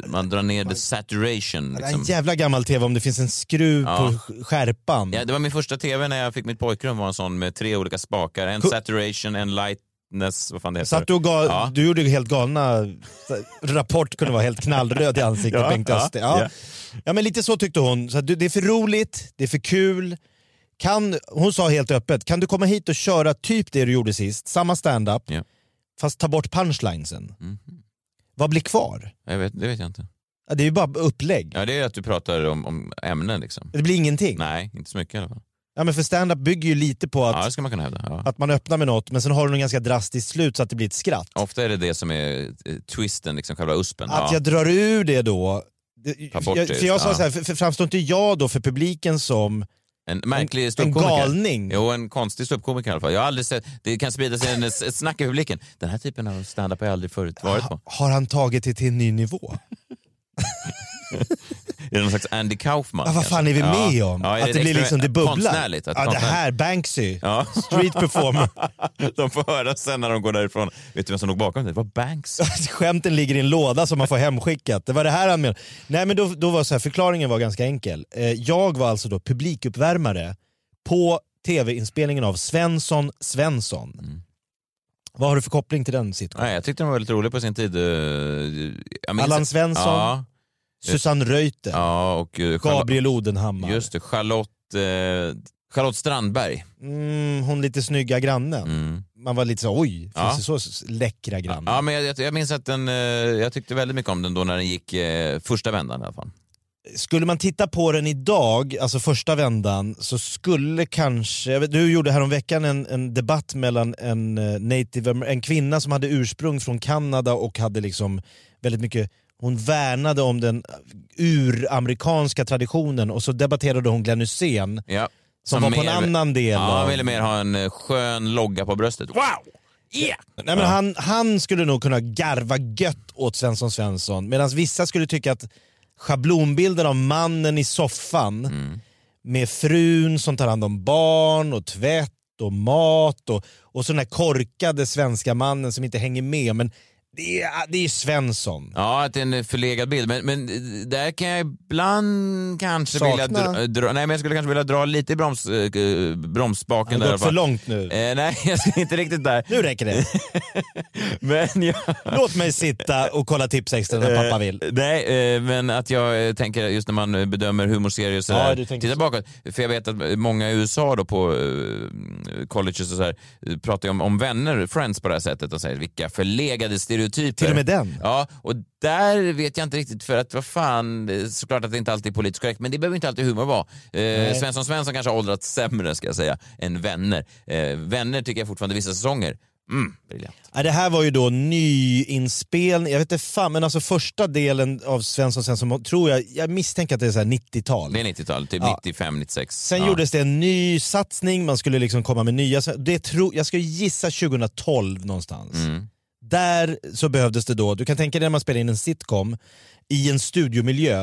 [SPEAKER 2] man drar ner the saturation.
[SPEAKER 4] det är en
[SPEAKER 2] Liksom.
[SPEAKER 4] jävla gammal tv om det finns en skruv
[SPEAKER 2] Ja.
[SPEAKER 4] på sk- skärpan.
[SPEAKER 2] Ja, det var min första TV när jag fick mitt pojkrum var en sån med tre olika spakar. En
[SPEAKER 4] Ko-
[SPEAKER 2] saturation, en lightness, vad fan det heter.
[SPEAKER 4] Så att du, gav,
[SPEAKER 2] Ja.
[SPEAKER 4] du gjorde ju helt galna... Rapport kunde vara helt knallröd i ansiktet,
[SPEAKER 2] Ja,
[SPEAKER 4] Bengt
[SPEAKER 2] ja,
[SPEAKER 4] Öster. Ja.
[SPEAKER 2] ja.
[SPEAKER 4] Ja. men lite så tyckte hon. Så att du, det är för roligt, det är för kul. Kan, hon sa helt öppet, kan du komma hit och köra typ det du gjorde sist, samma stand-up,
[SPEAKER 2] Ja. Mhm.
[SPEAKER 4] fast ta bort punchlinesen? Vad blir kvar?
[SPEAKER 2] Jag vet, det vet jag inte.
[SPEAKER 4] Ja, det är ju bara upplägg.
[SPEAKER 2] Ja, det är att du pratar om, om ämnen liksom.
[SPEAKER 4] Det blir ingenting.
[SPEAKER 2] Nej, inte så mycket i alla fall.
[SPEAKER 4] Ja, men för stand-up bygger ju lite på att,
[SPEAKER 2] Ja, det ska man kunna hävda. Ja.
[SPEAKER 4] att man öppnar med något men sen har du något ganska drastiskt slut så att det blir ett skratt.
[SPEAKER 2] Ofta är det det som är eh, twisten, liksom själva uspen.
[SPEAKER 4] Att
[SPEAKER 2] ja.
[SPEAKER 4] jag drar ur det då. Det-
[SPEAKER 2] Ta bort
[SPEAKER 4] jag,
[SPEAKER 2] det,
[SPEAKER 4] för jag sa
[SPEAKER 2] ja.
[SPEAKER 4] så här, för, för framstår inte jag då för publiken som
[SPEAKER 2] En märklig
[SPEAKER 4] en
[SPEAKER 2] ståuppkomiker.
[SPEAKER 4] galning?
[SPEAKER 2] Jo, en konstig ståuppkomiker i alla fall. Jag har aldrig sett, det kan sprida sig en, ett snack i publiken. Den här typen av standup har jag aldrig förut varit på.
[SPEAKER 4] Har han tagit det till en ny nivå?
[SPEAKER 2] Är det någon slags Andy Kaufman?
[SPEAKER 4] Ja, vad fan är vi
[SPEAKER 2] kanske?
[SPEAKER 4] med om?
[SPEAKER 2] Ja, är
[SPEAKER 4] att det
[SPEAKER 2] ett
[SPEAKER 4] blir liksom, det bubblar.
[SPEAKER 2] Konstnärligt. att
[SPEAKER 4] ja, det
[SPEAKER 2] konstnärligt.
[SPEAKER 4] här, Banksy.
[SPEAKER 2] Ja.
[SPEAKER 4] Street performer.
[SPEAKER 2] De får höra sen när de går därifrån. Vet du vem som låg bakom det? Det var Banks.
[SPEAKER 4] Skämten ligger i en låda som man får hemskickat. Det var det här han menade. Nej men då, då var så här, förklaringen var ganska enkel. Eh, jag var alltså då publikuppvärmare på tv-inspelningen av Svensson Svensson. Vad har du för koppling till den sitcomen?
[SPEAKER 2] Mm. Nej, jag tyckte de var väldigt roliga på sin tid. Eh, jag minns-
[SPEAKER 4] Allan Svensson,
[SPEAKER 2] Ja,
[SPEAKER 4] Susanne Reuter,
[SPEAKER 2] ja och eh, Charlotte,
[SPEAKER 4] Gabriel Odenhammar,
[SPEAKER 2] just det, Charlotte, eh, Charlotte Strandberg.
[SPEAKER 4] mm, hon lite snygga grannen.
[SPEAKER 2] Mm.
[SPEAKER 4] Man var lite så oj, finns
[SPEAKER 2] Ja.
[SPEAKER 4] det så s- läckra grannar?
[SPEAKER 2] Ja, men jag- jag, jag minns att den, eh, jag tyckte väldigt mycket om den då när den gick eh, första vändan i alla fall.
[SPEAKER 4] Skulle man titta på den idag, alltså första vändan, så skulle kanske... Jag vet, du gjorde häromveckan en, en debatt mellan en, eh, native, amer- en kvinna som hade ursprung från Kanada och hade liksom väldigt mycket... Hon värnade om den eh, uramerikanska traditionen och så debatterade hon Glenn Hysén
[SPEAKER 2] Ja.
[SPEAKER 4] som, var på en
[SPEAKER 2] mer-
[SPEAKER 4] annan del
[SPEAKER 2] Ja,
[SPEAKER 4] av...
[SPEAKER 2] ville mer ha en eh, skön logga på bröstet. Wow! Yeah!
[SPEAKER 4] Nej, men han, han skulle nog kunna garva gött åt Svensson Svensson medan vissa skulle tycka att schablonbilden av mannen i soffan med frun som tar hand om barn och tvätt och mat och, och så den här korkade svenska mannen som inte hänger med. Men det är, det är ju Svensson.
[SPEAKER 2] Ja, att det är en eh, förlegad bild. Men, men eh, där kan jag ibland kanske
[SPEAKER 4] Sakna.
[SPEAKER 2] vilja dra, eh, dra... Nej, men jag skulle kanske vilja dra lite i broms, eh, bromsspaken.
[SPEAKER 4] Han
[SPEAKER 2] där i alla
[SPEAKER 4] har gått för
[SPEAKER 2] fall.
[SPEAKER 4] långt nu.
[SPEAKER 2] Eh, nej, jag ska inte riktigt där.
[SPEAKER 4] Nu räcker det.
[SPEAKER 2] Men jag...
[SPEAKER 4] Låt mig sitta och kolla tips extra när pappa vill.
[SPEAKER 2] Eh, nej, eh, men att jag eh, tänker just när man eh, bedömer humorserier och
[SPEAKER 4] Ja,
[SPEAKER 2] sådär,
[SPEAKER 4] du tänker
[SPEAKER 2] titta
[SPEAKER 4] så.
[SPEAKER 2] bakåt. För jag vet att många i USA då på eh, colleges och sådär eh, pratar ju om, om vänner, friends på det här sättet och säger vilka förlegade stereotyper.
[SPEAKER 4] Till och med den.
[SPEAKER 2] Ja, och där vet jag inte riktigt för att vad fan, eh, såklart att det inte alltid är politiskt korrekt men det behöver inte alltid humor vara. Eh, Svensson Svensson kanske har åldrats sämre ska jag säga än vänner. Eh, vänner tycker jag fortfarande vissa säsonger, mm, briljant.
[SPEAKER 4] Ja, det här var ju då nyinspelning, jag vet inte fan, men alltså första delen av Svensson Svensson tror jag, jag misstänker att det är så här 90-tal.
[SPEAKER 2] Det är 90-tal, typ
[SPEAKER 4] Ja.
[SPEAKER 2] 95, 96.
[SPEAKER 4] Sen
[SPEAKER 2] Ja.
[SPEAKER 4] gjordes det en ny satsning, man skulle liksom komma med nya... Det tro, jag ska gissa 2012 någonstans.
[SPEAKER 2] Mm.
[SPEAKER 4] Där så behövdes det då, du kan tänka dig när man spelar in en sitcom i en studiomiljö,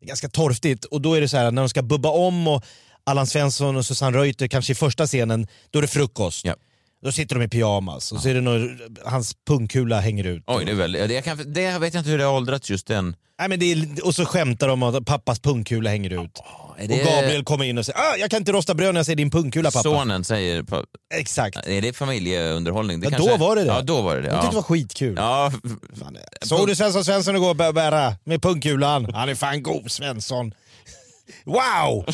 [SPEAKER 4] det är ganska torftigt, och då är det så här när de ska bubba om och Allan Svensson och Susanne Reuter kanske i första scenen, då är det frukost.
[SPEAKER 2] Ja.
[SPEAKER 4] Då sitter de i pyjamas och så är det någon, hans pungkula hänger ut.
[SPEAKER 2] Oj, det, är väl, ja, det, jag kan, det vet jag inte hur det har åldrats just den.
[SPEAKER 4] Nej, men det är, och så skämtar de om att pappas pungkula hänger ut.
[SPEAKER 2] Är
[SPEAKER 4] Och Gabriel kommer in och säger ah, “Jag kan inte rosta bröd när jag ser din pungkula pappa”.
[SPEAKER 2] Sonen säger, pa-
[SPEAKER 4] Exakt.
[SPEAKER 2] är det familjeunderhållning? Det
[SPEAKER 4] Ja, då var det det.
[SPEAKER 2] Ja, då var det det.
[SPEAKER 4] Jag tyckte det
[SPEAKER 2] Ja.
[SPEAKER 4] var skitkul.
[SPEAKER 2] Ja,
[SPEAKER 4] Såg du Svensson Svensson igår bä- bära med pungkulan? Han är fan god Svensson. Wow!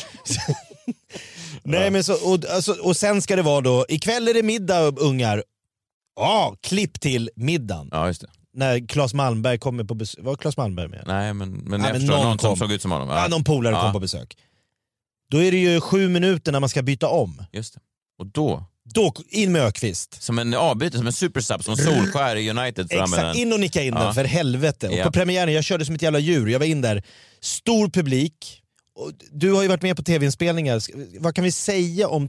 [SPEAKER 4] Nej, men så, och, alltså, och sen ska det vara då, ikväll är det middag ungar. Ja, klipp till middagen.
[SPEAKER 2] ja, just det.
[SPEAKER 4] När Claes Malmberg kommer på besök. Var Claes Malmberg med?
[SPEAKER 2] Nej, men, men
[SPEAKER 4] Ja,
[SPEAKER 2] jag
[SPEAKER 4] men
[SPEAKER 2] förstår,
[SPEAKER 4] någon
[SPEAKER 2] någon,
[SPEAKER 4] kom.
[SPEAKER 2] som såg ut som honom.
[SPEAKER 4] Ja, någon polare
[SPEAKER 2] Ja.
[SPEAKER 4] kom på besök. Då är det ju sju minuter när man ska byta om.
[SPEAKER 2] Just det. Och då,
[SPEAKER 4] Då in med Ökvist.
[SPEAKER 2] som en avbytare, som en supersub, som Solskär i United. fram med
[SPEAKER 4] Exakt,
[SPEAKER 2] den.
[SPEAKER 4] in och nicka in
[SPEAKER 2] Ja.
[SPEAKER 4] den för helvete. Och
[SPEAKER 2] Ja.
[SPEAKER 4] på premiären, jag körde som ett jävla djur. Jag var in där, stor publik. Och du har ju varit med på tv-inspelningar. Ska- Vad kan vi säga om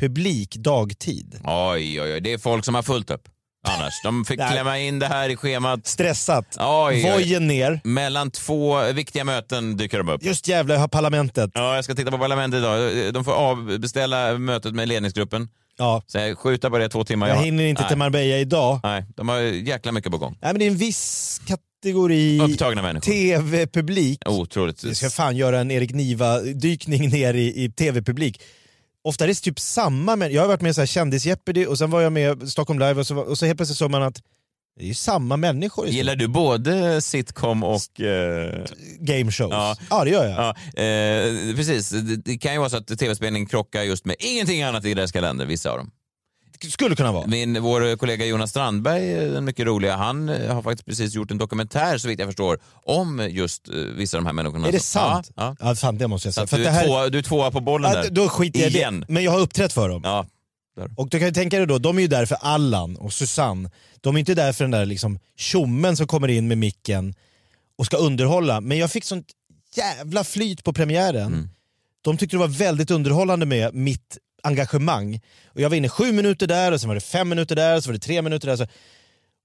[SPEAKER 4] tv-publik dagtid?
[SPEAKER 2] Oj, oj, oj. Det är folk som har fullt upp annars. De fick
[SPEAKER 4] Där.
[SPEAKER 2] klämma in det här i schemat.
[SPEAKER 4] Stressat,
[SPEAKER 2] Oj, oj.
[SPEAKER 4] vojen ner.
[SPEAKER 2] Mellan två viktiga möten dyker de upp.
[SPEAKER 4] Just jävlar, jag har parlamentet.
[SPEAKER 2] Ja, jag ska titta på Parlamentet idag. De får avbeställa mötet med ledningsgruppen.
[SPEAKER 4] Ja.
[SPEAKER 2] Så jag skjuta på det två timmar.
[SPEAKER 4] Jag hinner inte
[SPEAKER 2] nej,
[SPEAKER 4] till Marbella idag.
[SPEAKER 2] Nej, de har jäkla mycket på gång.
[SPEAKER 4] Nej, men det är en viss kategori
[SPEAKER 2] Upptagna människor.
[SPEAKER 4] tv-publik.
[SPEAKER 2] Otroligt.
[SPEAKER 4] Vi ska fan göra en Erik Niva-dykning ner i, i tv-publik. Ofta är det typ samma, men jag har varit med i så här kändis-Jeopardy och sen var jag med i Stockholm Live och så, var- och så helt plötsligt såg man att det är ju samma människor i
[SPEAKER 2] Gillar du både sitcom och... Eh,
[SPEAKER 4] game shows.
[SPEAKER 2] Ja.
[SPEAKER 4] Ja. det gör jag.
[SPEAKER 2] ja, eh, precis. Det, det kan ju vara så att tv-spelning krockar just med ingenting annat i deras kalender, vissa av dem.
[SPEAKER 4] skulle kunna vara.
[SPEAKER 2] Min, vår kollega Jonas Strandberg, eh, den mycket roliga, han eh, har faktiskt precis gjort en dokumentär så vitt jag förstår om just eh, vissa av de här människorna.
[SPEAKER 4] Är det
[SPEAKER 2] som-
[SPEAKER 4] sant?
[SPEAKER 2] Ja, ja.
[SPEAKER 4] Ja, fan, det måste jag
[SPEAKER 2] Så
[SPEAKER 4] säga.
[SPEAKER 2] att
[SPEAKER 4] För
[SPEAKER 2] du,
[SPEAKER 4] att det
[SPEAKER 2] är
[SPEAKER 4] här-
[SPEAKER 2] tvåa, du är tvåa på bollen
[SPEAKER 4] Ja,
[SPEAKER 2] där.
[SPEAKER 4] Då skiter jag i
[SPEAKER 2] Igen.
[SPEAKER 4] det. Men jag har uppträtt för dem.
[SPEAKER 2] Ja.
[SPEAKER 4] Och du kan ju tänka dig då, de är ju där för Allan och Susanne. De är inte där för den där liksom tjommen som kommer in med micken och ska underhålla. Men jag fick sånt jävla flyt på premiären. De tyckte det var väldigt underhållande med mitt engagemang. Och jag var inne sju minuter där, och sen var det fem minuter där, och så var det tre minuter där. Så...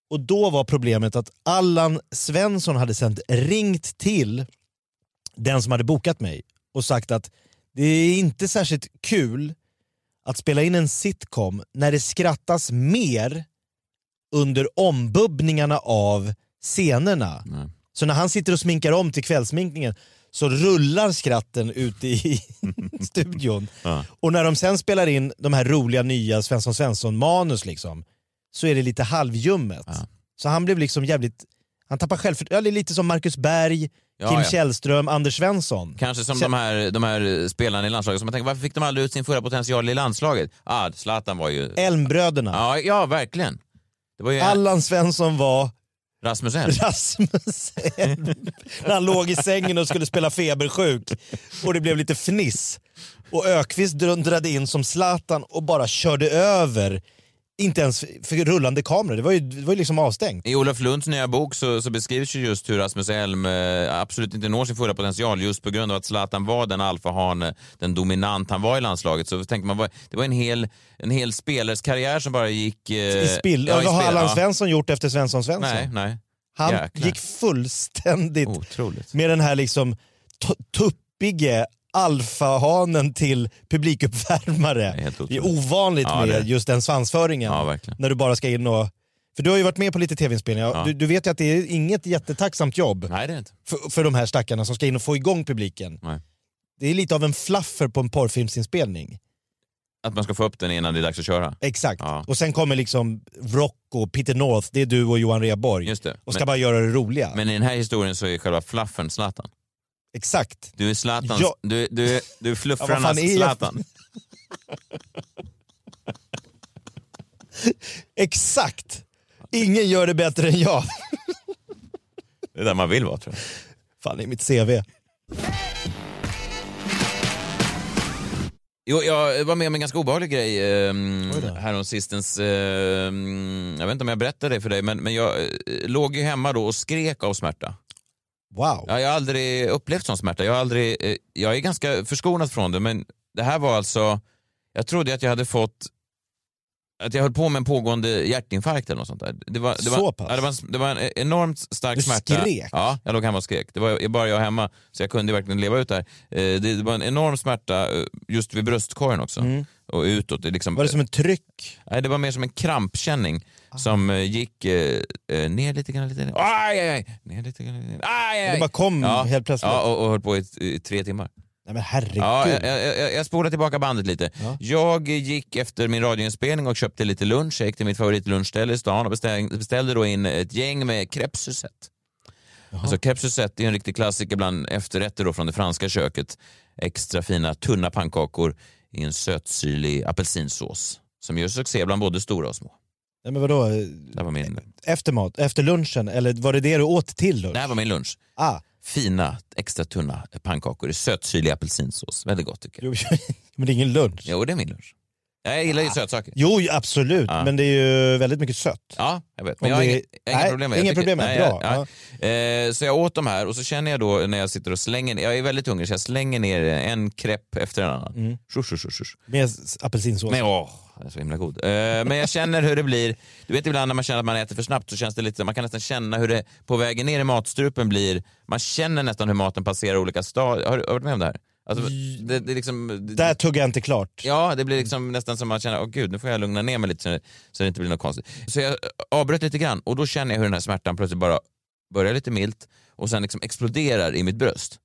[SPEAKER 4] Och då var problemet att Allan Svensson hade sen ringt till den som hade bokat mig och sagt att det är inte särskilt kul att spela in en sitcom när det skrattas mer under ombubbningarna av scenerna. Så när han sitter och sminkar om till kvällssminkningen så rullar skratten ute i studion. Och när de sen spelar in de här roliga nya Svensson Svensson-manus liksom, så är det lite halvljummet. Så han blev liksom jävligt... Han tappar självförtroende. Lite som Marcus Berg,
[SPEAKER 2] Ja,
[SPEAKER 4] Kim
[SPEAKER 2] ja.
[SPEAKER 4] Källström, Anders Svensson.
[SPEAKER 2] Kanske som
[SPEAKER 4] Sen-
[SPEAKER 2] de här, de här spelarna i landslaget som man tänker, varför fick de aldrig ut sin fulla potential i landslaget? Ah, Zlatan var ju...
[SPEAKER 4] Eh. Elmbröderna.
[SPEAKER 2] Ja, ja verkligen. Det var ju
[SPEAKER 4] Allan Svensson var
[SPEAKER 2] Rasmus Elm.
[SPEAKER 4] Rasmus Elm. När han låg i sängen och skulle spela febersjuk. Och det blev lite fniss. Och Ökvist dundrade in som Zlatan och bara körde över. Inte ens för rullande kameror. Det var ju, det var ju liksom avstängt.
[SPEAKER 2] I Olof Lunds nya bok så, så beskrivs ju just hur Rasmus Elm eh, absolut inte når sin fulla potential just på grund av att Zlatan var den alfahane, den dominant han var i landslaget. Så tänker man, vad- det var en hel, en hel spelares karriär som bara gick... eh,
[SPEAKER 4] I spill.
[SPEAKER 2] ja, i
[SPEAKER 4] Vad har
[SPEAKER 2] spill,
[SPEAKER 4] Allan
[SPEAKER 2] ja.
[SPEAKER 4] Svensson gjort efter Svensson Svensson?
[SPEAKER 2] Nej, nej.
[SPEAKER 4] Han
[SPEAKER 2] Jäklar.
[SPEAKER 4] gick fullständigt
[SPEAKER 2] Otroligt.
[SPEAKER 4] med den här liksom tu- tuppige alfahanen till publikuppvärmare.
[SPEAKER 2] Helt otroligt.
[SPEAKER 4] Det är ovanligt
[SPEAKER 2] Ja, det är
[SPEAKER 4] med
[SPEAKER 2] det.
[SPEAKER 4] just den svansföringen.
[SPEAKER 2] Ja, verkligen.
[SPEAKER 4] När du bara ska in och... För du har ju varit med på lite tv-inspelningar.
[SPEAKER 2] Ja.
[SPEAKER 4] Du, du vet ju att det är inget jättetacksamt jobb
[SPEAKER 2] Nej, det är det inte.
[SPEAKER 4] för, för de här stackarna som ska in och få igång publiken.
[SPEAKER 2] Nej.
[SPEAKER 4] Det är lite av en flaffer på en porrfilmsinspelning.
[SPEAKER 2] Att man ska få upp den innan det är dags att köra.
[SPEAKER 4] Exakt.
[SPEAKER 2] Ja.
[SPEAKER 4] Och sen kommer liksom Rocco, Peter North, det är du och Johan Rheborg.
[SPEAKER 2] Just det.
[SPEAKER 4] Och ska
[SPEAKER 2] Men-
[SPEAKER 4] bara göra det roliga.
[SPEAKER 2] Men i den här historien så är själva flaffen Zlatan.
[SPEAKER 4] Exakt.
[SPEAKER 2] Du är Zlatans...
[SPEAKER 4] Ja.
[SPEAKER 2] Du, du, du är
[SPEAKER 4] Ja, vad fan
[SPEAKER 2] fluffrarnas
[SPEAKER 4] är jag?
[SPEAKER 2] Zlatan.
[SPEAKER 4] Exakt! Ingen gör det bättre än jag.
[SPEAKER 2] Det är där man vill vara tror jag.
[SPEAKER 4] Fan, det är mitt CV.
[SPEAKER 2] Jo, jag var med om en ganska obehaglig grej eh, häromsistens. Eh, ehm, jag vet inte om jag berättade det för dig, men, men jag eh, låg ju hemma då och skrek av smärta.
[SPEAKER 4] Wow.
[SPEAKER 2] Ja, jag har aldrig upplevt sån smärta. Jag, har aldrig, eh, jag är ganska förskonad från det, men det här var alltså... Jag trodde att jag hade fått... Att jag höll på med en pågående hjärtinfarkt eller något sånt där. Det var, det var,
[SPEAKER 4] Så pass?
[SPEAKER 2] Ja, det, var en, det var en e, enormt stark
[SPEAKER 4] Du
[SPEAKER 2] smärta.
[SPEAKER 4] skrek?
[SPEAKER 2] Ja, jag låg hemma och skrek. Det var bara jag hemma, så jag kunde verkligen leva ut det här. Eh, Det det var en enorm smärta eh, just vid bröstkorgen också. Och utåt. Det liksom, eh,
[SPEAKER 4] Mm. Var det som Ah. ett tryck?
[SPEAKER 2] Nej, det var mer som en krampkänning som eh, gick eh, eh, ner lite grann, lite grann. Aj, aj, aj. Ner lite grann, lite grann. Aj, aj, aj.
[SPEAKER 4] Det bara kom Mm, helt plötsligt?
[SPEAKER 2] Ja, och, och höll på i, i tre timmar.
[SPEAKER 4] Nej men herregud.
[SPEAKER 2] Ja, jag, jag, jag- jag spolar tillbaka bandet lite. Jag gick efter min radioinspelning och köpte lite lunch. Jag gick till mitt favoritlunchställe i stan och beställde, beställde då in ett gäng med crêpes Suzette. Alltså crêpes Suzette är en riktig klassiker bland efterrätter då från det franska köket. Extra fina tunna pannkakor i en sötsyrlig apelsinsås som gör succé bland både stora och små.
[SPEAKER 4] Nej, men vadå?
[SPEAKER 2] Det här var min,
[SPEAKER 4] Efter mat? Efter lunchen? Eller var det det du åt till lunch?
[SPEAKER 2] det här var min lunch.
[SPEAKER 4] Ah.
[SPEAKER 2] Fina, extra tunna pannkakor i sötsyrlig apelsinsås. Väldigt gott tycker jag.
[SPEAKER 4] Jo, men det är ingen lunch.
[SPEAKER 2] Jo, det är min lunch. Jag gillar ju sötsaker.
[SPEAKER 4] Ah. Jo, ju, absolut. Men det är ju väldigt mycket sött.
[SPEAKER 2] Ja, jag vet.
[SPEAKER 4] Om
[SPEAKER 2] Men jag har
[SPEAKER 4] det-
[SPEAKER 2] inga, jag har inga problem
[SPEAKER 4] nej,
[SPEAKER 2] med det.
[SPEAKER 4] inga
[SPEAKER 2] Jag tycker-
[SPEAKER 4] problem med det.
[SPEAKER 2] nej,
[SPEAKER 4] Bra.
[SPEAKER 2] jag- nej. Eh, Så jag åt de här och så känner jag då när jag sitter och slänger ner, jag är väldigt hungrig så jag slänger ner en crepe efter en annan. Mm. Shush, shush, shush, shush.
[SPEAKER 4] Med s- apelsinsås.
[SPEAKER 2] Men åh, den är så himla god. Eh, Men jag känner hur det blir, du vet ibland när man känner att man äter för snabbt så känns det lite, man kan nästan känna hur det på vägen ner i matstrupen blir, man känner nästan hur maten passerar olika stadier. Har du har du varit med om det här? Alltså, det, det är liksom, det-
[SPEAKER 4] Där tuggar jag inte klart.
[SPEAKER 2] Ja, det blir liksom nästan som att man känner, åh gud, nu får jag lugna ner mig lite så- så det inte blir något konstigt. Så jag avbröt lite grann och då känner jag hur den här smärtan plötsligt bara börjar lite milt och sen liksom exploderar i mitt bröst.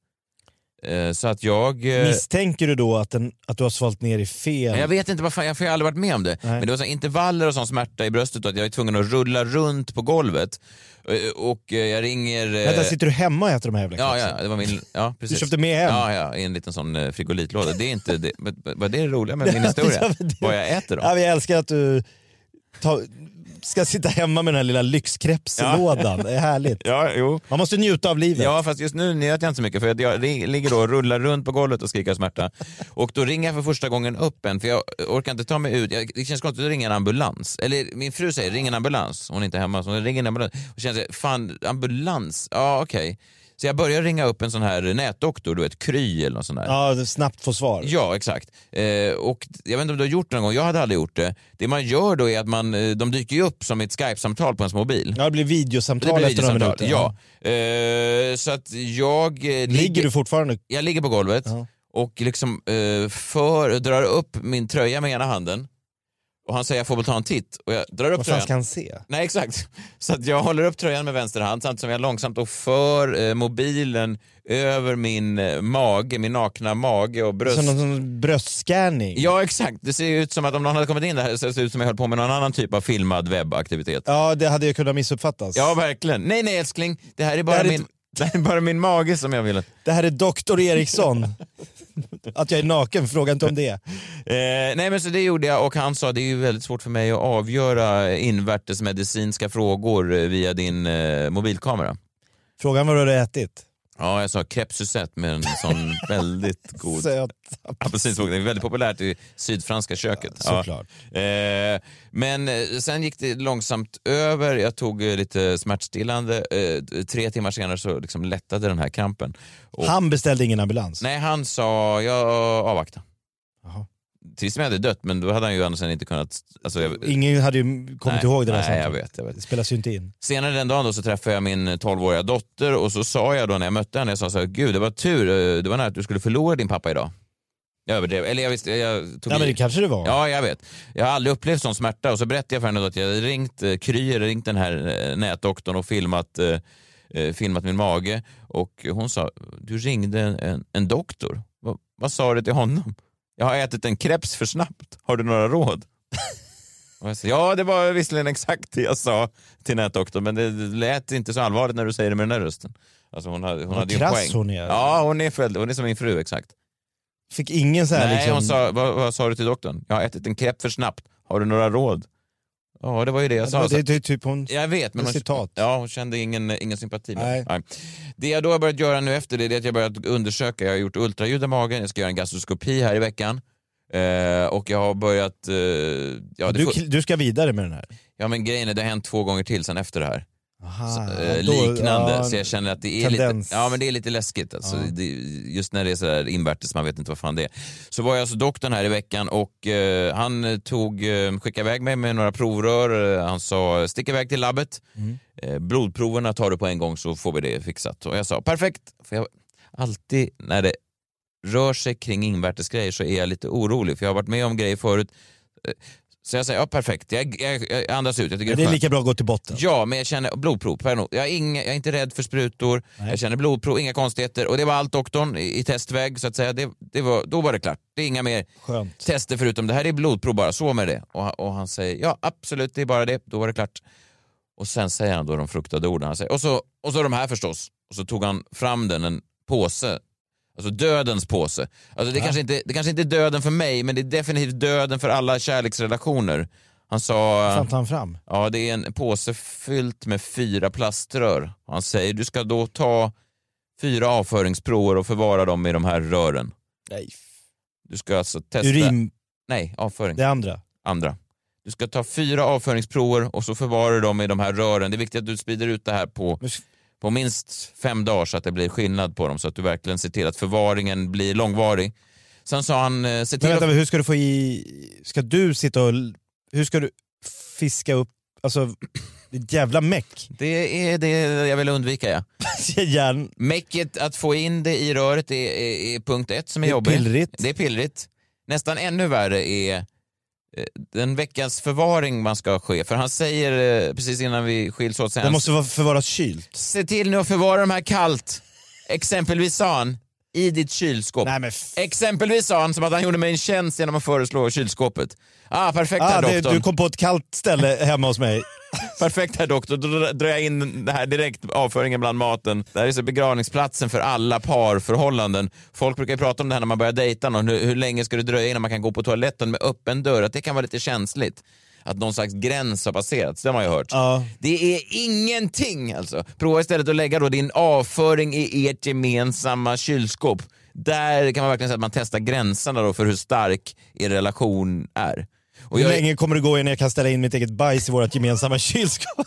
[SPEAKER 2] Eh, Så att jag... eh,
[SPEAKER 4] Misstänker du då att, den, att du har svalt ner i fel?
[SPEAKER 2] Jag vet inte, vad fan, jag har ju aldrig varit med om det. Men det var så här intervaller och sån smärta i bröstet och att jag var tvungen att rulla runt på golvet. Eh, Och eh, jag ringer... eh,
[SPEAKER 4] Vänta, sitter du hemma och äter de här jävla
[SPEAKER 2] Ja,
[SPEAKER 4] kepsen?
[SPEAKER 2] ja, det var min, ja, precis.
[SPEAKER 4] köpte med hem?
[SPEAKER 2] Ja, ja, i en liten sån eh, frigolitlåda. Det är inte det, men- men vad det är det roliga med min historia? Vad jag äter då?
[SPEAKER 4] Ja, men jag älskar att du ta, ska sitta hemma med den här lilla lyxkrepslådan.
[SPEAKER 2] Ja.
[SPEAKER 4] Det är härligt.
[SPEAKER 2] Ja, jo.
[SPEAKER 4] Man måste njuta av livet.
[SPEAKER 2] Ja, fast just nu njöt jag inte så mycket för jag, jag ri- ligger då och rullar runt på golvet och skriker av smärta. Och då ringer jag för första gången upp en, för jag orkar inte ta mig ut. Jag, det känns konstigt att ringa en ambulans. Eller min fru säger ring en ambulans, hon är inte hemma. Så hon ringer en ambulans och känner sig, fan ambulans, ja okej. Så jag börjar ringa upp en sån här nätdoktor, du vet Kry eller något sånt där.
[SPEAKER 4] Ja, du snabbt få svar.
[SPEAKER 2] Ja, exakt. Eh, och jag vet inte om du har gjort det någon gång, jag hade aldrig gjort det. Det man gör då är att man, eh, de dyker ju upp som ett Skype-samtal på ens mobil.
[SPEAKER 4] Ja, det blir videosamtal efter några
[SPEAKER 2] videosamtal,
[SPEAKER 4] minuter.
[SPEAKER 2] Ja. Eh, så att jag... eh,
[SPEAKER 4] Ligger du fortfarande?
[SPEAKER 2] Jag ligger på golvet och liksom eh, för, drar upp min tröja med ena handen. Och han säger jag får väl ta en titt. Och jag drar upp
[SPEAKER 4] Vad fan
[SPEAKER 2] tröjan.
[SPEAKER 4] ska han se?
[SPEAKER 2] Nej, exakt. Så att jag håller upp tröjan med vänster hand samtidigt som jag långsamt och för eh, mobilen över min eh, mage, min nakna mage och bröst.
[SPEAKER 4] Som någon sån bröstscanning?
[SPEAKER 2] Ja, exakt. Det ser ju ut som att om någon hade kommit in där så ser det ut som att jag höll på med någon annan typ av filmad webbaktivitet.
[SPEAKER 4] Ja, det hade ju kunnat missuppfattas.
[SPEAKER 2] Ja, verkligen. Nej, nej älskling. Det här är bara,
[SPEAKER 4] Det här är
[SPEAKER 2] min, det här är bara min mage som jag vill att...
[SPEAKER 4] Det här är doktor Eriksson. att jag är naken, fråga inte om det.
[SPEAKER 2] Eh, nej men så det gjorde jag och han sa det är ju väldigt svårt för mig att avgöra invärtesmedicinska frågor eh, via din eh, mobilkamera.
[SPEAKER 4] Frågan var vad du har ätit.
[SPEAKER 2] Ja, jag sa crêpe Suzette med en sån väldigt god
[SPEAKER 4] Söt.
[SPEAKER 2] apelsinsmak. Det är väldigt populärt i sydfranska köket.
[SPEAKER 4] Ja, såklart.
[SPEAKER 2] Eh, men eh, sen gick det långsamt över. Jag tog eh, lite smärtstillande. Eh, tre timmar senare så liksom lättade den här krampen. Och-
[SPEAKER 4] Han beställde ingen ambulans.
[SPEAKER 2] Nej, han sa jag avvaktar. Tills jag hade dött, men då hade han ju annars inte kunnat... Alltså, jag,
[SPEAKER 4] Ingen hade ju kommit
[SPEAKER 2] Nej,
[SPEAKER 4] ihåg det där
[SPEAKER 2] nej, jag
[SPEAKER 4] samtalet.
[SPEAKER 2] vet, jag vet.
[SPEAKER 4] Det spelas ju inte in.
[SPEAKER 2] Senare den dagen då så träffade jag min 12-åriga dotter och så sa jag då när jag mötte henne, jag sa så här, gud det var tur, eh, det var nära att du skulle förlora din pappa idag. Jag överdrev, eller jag visste, jag tog
[SPEAKER 4] Ja,
[SPEAKER 2] i.
[SPEAKER 4] men det kanske det var.
[SPEAKER 2] Ja, jag vet. Jag har aldrig upplevt sån smärta och så berättade jag för henne då att jag hade ringt eh, Kry, eller ringt den här eh, nätdoktorn och filmat, eh, eh, filmat min mage och hon sa, du ringde en, en, en doktor, vad, vad sa du till honom? Jag har ätit en kreps för snabbt, har du några råd? Och jag sa, ja, det var visserligen exakt det jag sa till nätdoktorn, men det lät inte så allvarligt när du säger det med den där rösten. Alltså hon hade, hon
[SPEAKER 4] Vad
[SPEAKER 2] hade ju en
[SPEAKER 4] krass
[SPEAKER 2] poäng.
[SPEAKER 4] hon är.
[SPEAKER 2] Ja, hon är, förälder, hon är som min fru exakt.
[SPEAKER 4] Fick ingen så här
[SPEAKER 2] Nej,
[SPEAKER 4] liksom...
[SPEAKER 2] hon sa, vad, vad sa du till doktorn? Jag har ätit en crepe för snabbt. Har du några råd? Ja, det var ju det jag
[SPEAKER 4] Det
[SPEAKER 2] sa.
[SPEAKER 4] var-
[SPEAKER 2] Så-
[SPEAKER 4] det- det är typ hon-
[SPEAKER 2] jag vet, men
[SPEAKER 4] ett
[SPEAKER 2] hon,
[SPEAKER 4] citat.
[SPEAKER 2] Ja, hon kände ingen, ingen sympati med
[SPEAKER 4] Nej.
[SPEAKER 2] det. Nej. Det jag då har börjat göra nu efter det är att jag har börjat undersöka. Jag har gjort ultraljud av magen, jag ska göra en gastroskopi här i veckan. Eh, och jag har börjat... Eh, ja, det
[SPEAKER 4] du,
[SPEAKER 2] får-
[SPEAKER 4] kl- du ska vidare med den här.
[SPEAKER 2] ja, men grejen är det har hänt två gånger till sen efter det här.
[SPEAKER 4] Aha,
[SPEAKER 2] Eh,
[SPEAKER 4] Ah, då-
[SPEAKER 2] liknande,
[SPEAKER 4] ja,
[SPEAKER 2] så jag känner att det är, lite,
[SPEAKER 4] tendens.
[SPEAKER 2] ja, men det är lite läskigt. Alltså, det, just när det är sådär invärtes, man vet inte vad fan det är. Så var jag hos doktorn här i veckan och eh, han tog, eh, skickade iväg mig med några provrör. Eh, Han sa stick iväg till labbet,
[SPEAKER 4] Mm.
[SPEAKER 2] eh, blodproverna tar du på en gång så får vi det fixat. Och jag sa perfekt, för jag alltid när det rör sig kring invärtesgrejer så är jag lite orolig för jag har varit med om grejer förut. Eh, Så jag säger ja, perfekt, jag, jag, jag andas ut. Jag tycker
[SPEAKER 4] Men det är
[SPEAKER 2] skönt.
[SPEAKER 4] lika bra att gå till botten.
[SPEAKER 2] Ja, men jag känner blodprov. per nog. Jag är, inga, jag är inte rädd för sprutor, jag känner blodprov, inga konstigheter. Och det var allt doktorn i, i testväg så att säga. Det, det var, då var det klart. Det är inga mer
[SPEAKER 4] Skönt.
[SPEAKER 2] tester förutom det här är blodprov bara, så med det. Och, han- och han säger ja absolut, det är bara det, då var det klart. Och sen säger han då de fruktade orden. Han säger, och, så, och så de här förstås. Och så tog han fram den, en påse. Alltså dödens påse. Alltså det, kanske inte, det kanske inte är döden för mig, men det är definitivt döden för alla kärleksrelationer. Han sa...
[SPEAKER 4] Fan, ta han fram.
[SPEAKER 2] Ja, det är en påse fyllt med fyra plaströr. Och Han säger du ska då ta fyra avföringsprover och förvara dem i de här rören.
[SPEAKER 4] Nej.
[SPEAKER 2] Du ska alltså testa...
[SPEAKER 4] Urin,
[SPEAKER 2] Nej, avföring.
[SPEAKER 4] det andra.
[SPEAKER 2] Andra. Du ska ta fyra avföringsprover och så förvarar du dem i de här rören. Det är viktigt att du sprider ut det här på, på minst fem dagar så att det blir skillnad på dem. Så att du verkligen ser till att förvaringen blir långvarig. Sen sa han... eh, Se till
[SPEAKER 4] Men vänta,
[SPEAKER 2] att...
[SPEAKER 4] hur ska du få i... Ska du sitta och... Hur ska du fiska upp... Alltså, det är ett jävla meck.
[SPEAKER 2] Det är det jag vill undvika, ja.
[SPEAKER 4] Järn...
[SPEAKER 2] Mäcket att få in det i röret är, är, är punkt ett som är,
[SPEAKER 4] Det är
[SPEAKER 2] jobbig.
[SPEAKER 4] pillrigt.
[SPEAKER 2] Det är pillrigt. Nästan ännu värre är eh, den veckans förvaring man ska ske. För han säger eh, precis innan vi skiljs åt sen.
[SPEAKER 4] Den måste vara- förvaras kylt.
[SPEAKER 2] Se till nu att förvara de här kallt. Exempelvis sa han, i ditt kylskåp. Exempelvis sa han som att han gjorde mig en tjänst genom att föreslå kylskåpet. Ah, perfekt
[SPEAKER 4] Ah,
[SPEAKER 2] herr
[SPEAKER 4] det,
[SPEAKER 2] doktorn.
[SPEAKER 4] du kom på ett kallt ställe hemma hos mig.
[SPEAKER 2] Perfekt herr doktor, då dr- drar jag in det här direkt, avföringen bland maten. Det här är så begravningsplatsen för alla parförhållanden. Folk brukar ju prata om det här när man börjar dejta någon, hur, hur länge ska det dröja innan man kan gå på toaletten med öppen dörr, att det kan vara lite känsligt. Att någon slags gräns har passerats, det har man ju hört. Det är ingenting alltså. Prova istället att lägga då din avföring i ert gemensamma kylskåp. Där kan man verkligen säga att man testar gränserna då för hur stark er relation är. Och
[SPEAKER 4] Hur
[SPEAKER 2] jag-
[SPEAKER 4] länge kommer det gå innan jag kan ställa in mitt eget bajs i vårt gemensamma kylskåp?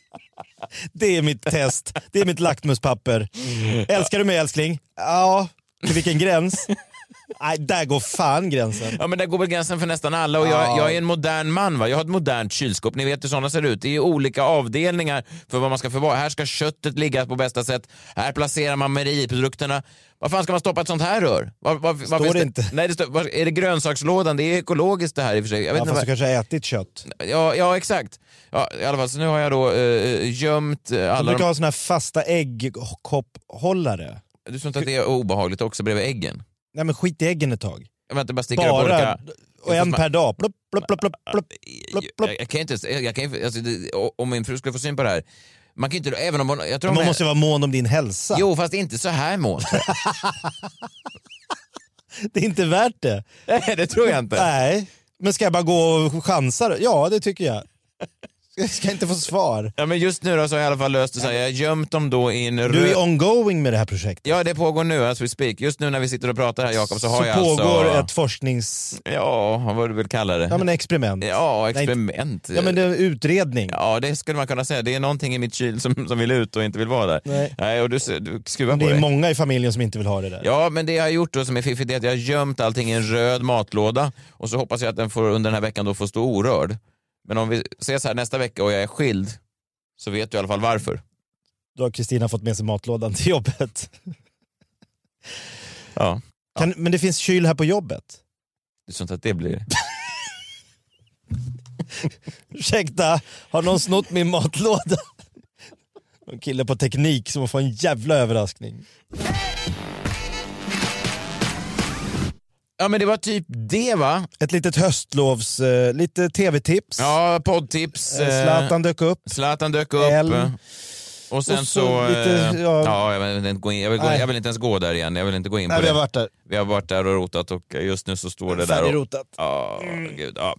[SPEAKER 4] det är mitt test. Det är mitt lackmuspapper.
[SPEAKER 2] Mm.
[SPEAKER 4] Älskar du mig älskling? Ja. Till vilken gräns? Nej, där går fan gränsen.
[SPEAKER 2] Ja men där går väl gränsen för nästan alla och jag,
[SPEAKER 4] Ja.
[SPEAKER 2] jag är en modern man va. Jag har ett modernt kylskåp. Ni vet hur sådana ser ut. Det är ju olika avdelningar för vad man ska förvara. Här ska köttet ligga på bästa sätt. Här placerar man mejeriprodukterna. Vad fan ska man stoppa ett sånt här rör? Var, var, står
[SPEAKER 4] det inte?
[SPEAKER 2] Nej, det står, var, är det grönsakslådan? Det är ekologiskt det här i och för sig. Jag vet
[SPEAKER 4] Ja,
[SPEAKER 2] inte
[SPEAKER 4] fast
[SPEAKER 2] vad-
[SPEAKER 4] du kanske har ätit kött.
[SPEAKER 2] ja, ja exakt. Ja, I alla fall, så nu har jag då eh, gömt eh,
[SPEAKER 4] De
[SPEAKER 2] alla...
[SPEAKER 4] brukar
[SPEAKER 2] de-
[SPEAKER 4] ha såna här fasta äggkopphållare.
[SPEAKER 2] Du tror inte att det är obehagligt också bredvid äggen?
[SPEAKER 4] Nej men skit i äggen ett tag.
[SPEAKER 2] Jag väntar bara sticker upp
[SPEAKER 4] Bara.
[SPEAKER 2] burkar.
[SPEAKER 4] Och en per dag. Plopp, plopp, plopp, plopp, plopp, plopp, plopp.
[SPEAKER 2] Jag, jag kan inte, ens- jag kan, ju- alltså, det, o- om min fru skulle få syn på det här, man kan ju inte, även om hon, jag tror
[SPEAKER 4] Men Man
[SPEAKER 2] hon-
[SPEAKER 4] måste vara mån om din hälsa.
[SPEAKER 2] Jo, fast inte så här mån.
[SPEAKER 4] Det är inte värt det.
[SPEAKER 2] Nej, det tror jag inte.
[SPEAKER 4] Nej, men ska jag bara gå och chansa då? Ja, det tycker jag. Jag ska inte få svar.
[SPEAKER 2] Ja, men just nu då så har jag i alla fall löst det så här, jag har gömt dem då i en
[SPEAKER 4] Du
[SPEAKER 2] röd-
[SPEAKER 4] är ongoing med det här projektet.
[SPEAKER 2] Ja, det pågår nu as we speak. Just nu när vi sitter och pratar här Jakob så har
[SPEAKER 4] Så
[SPEAKER 2] jag
[SPEAKER 4] pågår
[SPEAKER 2] alltså...
[SPEAKER 4] ett forsknings...
[SPEAKER 2] Ja, vad var det du vill kalla det?
[SPEAKER 4] Ja, men experiment.
[SPEAKER 2] Ja,
[SPEAKER 4] Nej,
[SPEAKER 2] experiment.
[SPEAKER 4] Ja, men det är en utredning.
[SPEAKER 2] Ja, det skulle man kunna säga. Det är någonting i mitt kyl som, som vill ut och inte vill vara där.
[SPEAKER 4] Nej.
[SPEAKER 2] och du, du skruvar
[SPEAKER 4] Det
[SPEAKER 2] på
[SPEAKER 4] är
[SPEAKER 2] det.
[SPEAKER 4] många i familjen som inte vill ha det där.
[SPEAKER 2] Ja, men det jag har gjort då som är fiffigt är att jag har gömt allting i en röd matlåda och så hoppas jag att den får, under den här veckan då får stå orörd. Men om vi ses här nästa vecka och jag är skild så vet du i alla fall varför.
[SPEAKER 4] Då har Kristina fått med sig matlådan till jobbet.
[SPEAKER 2] Ja.
[SPEAKER 4] Kan, men det finns kyl här på jobbet.
[SPEAKER 2] Du tror inte att det blir...
[SPEAKER 4] Ursäkta, har någon snott min matlåda? En kille på teknik som får en jävla överraskning.
[SPEAKER 2] Ja men det var typ det va?
[SPEAKER 4] Ett litet höstlovs, eh, lite tv-tips.
[SPEAKER 2] Ja, poddtips.
[SPEAKER 4] Eh,
[SPEAKER 2] eh,
[SPEAKER 4] Zlatan dök upp.
[SPEAKER 2] Zlatan dök upp.
[SPEAKER 4] Elm.
[SPEAKER 2] eh, Och sen
[SPEAKER 4] Och så
[SPEAKER 2] så...
[SPEAKER 4] lite,
[SPEAKER 2] eh,
[SPEAKER 4] ja.
[SPEAKER 2] ja. jag, vill inte gå in, jag, vill gå,
[SPEAKER 4] Nej.
[SPEAKER 2] jag vill inte ens gå där igen. Jag vill inte gå in
[SPEAKER 4] Nej,
[SPEAKER 2] på
[SPEAKER 4] vi
[SPEAKER 2] det.
[SPEAKER 4] har varit där.
[SPEAKER 2] Vi har varit där och rotat och just nu så står det där och...
[SPEAKER 4] Färdigrotat.
[SPEAKER 2] Ja, gud. Ja.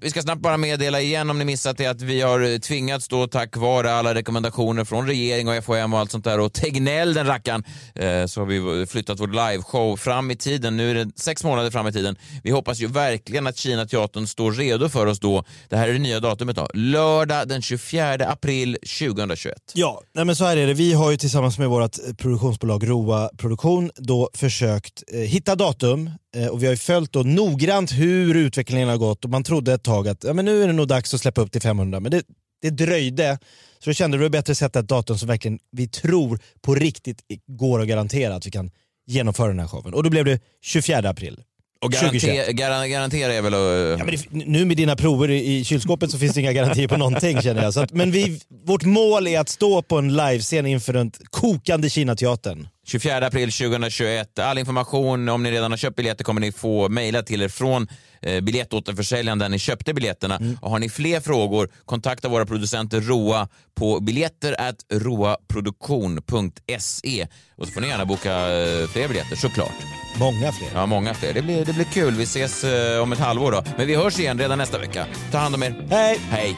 [SPEAKER 2] Vi ska snabbt bara meddela igen om ni missat det att vi har eh, tvingats då tack vare alla rekommendationer från regering och FHM och allt sånt där och Tegnell den rackaren eh, så har vi flyttat vår liveshow fram i tiden. Nu är det sex månader fram i tiden. Vi hoppas ju verkligen att Kina Teatern står redo för oss då. Det här är det nya datumet då. Lördag den 24 april 2021.
[SPEAKER 4] Ja, nej men så här är det. Vi har ju tillsammans med vårt produktionsbolag Roa Produktion då försökt eh, hitta datum eh, och vi har ju följt då noggrant hur utvecklingen har gått och man trodde ett tag att ja, men nu är det nog dags att släppa upp till 500 men det, det dröjde. Så då kände vi att det var bättre att sätta ett datum som verkligen vi tror på riktigt går att garantera att vi kan genomföra den här showen. Och då blev det 24 april.
[SPEAKER 2] Och
[SPEAKER 4] 2021.
[SPEAKER 2] garanter, garan, garantera är väl... eh,
[SPEAKER 4] Ja, men det, nu med dina prover i, i kylskåpet så finns det inga garantier på någonting känner jag. Så att, men vi, vårt mål är att stå på en livescen inför den kokande Kinateatern.
[SPEAKER 2] 24 april 2021. All information om ni redan har köpt biljetter kommer ni få mejla till er från eh, biljettåterförsäljaren där ni köpte biljetterna. Och har ni fler frågor, kontakta våra producenter Roa på biljetter@roaproduktion.se E. och så får ni gärna boka eh, fler biljetter såklart.
[SPEAKER 4] Många fler.
[SPEAKER 2] Ja, många fler. Det blir, det blir kul. Vi ses eh, om ett halvår då. Men vi hörs igen redan nästa vecka. Ta hand om er.
[SPEAKER 4] Hej!
[SPEAKER 2] Hej!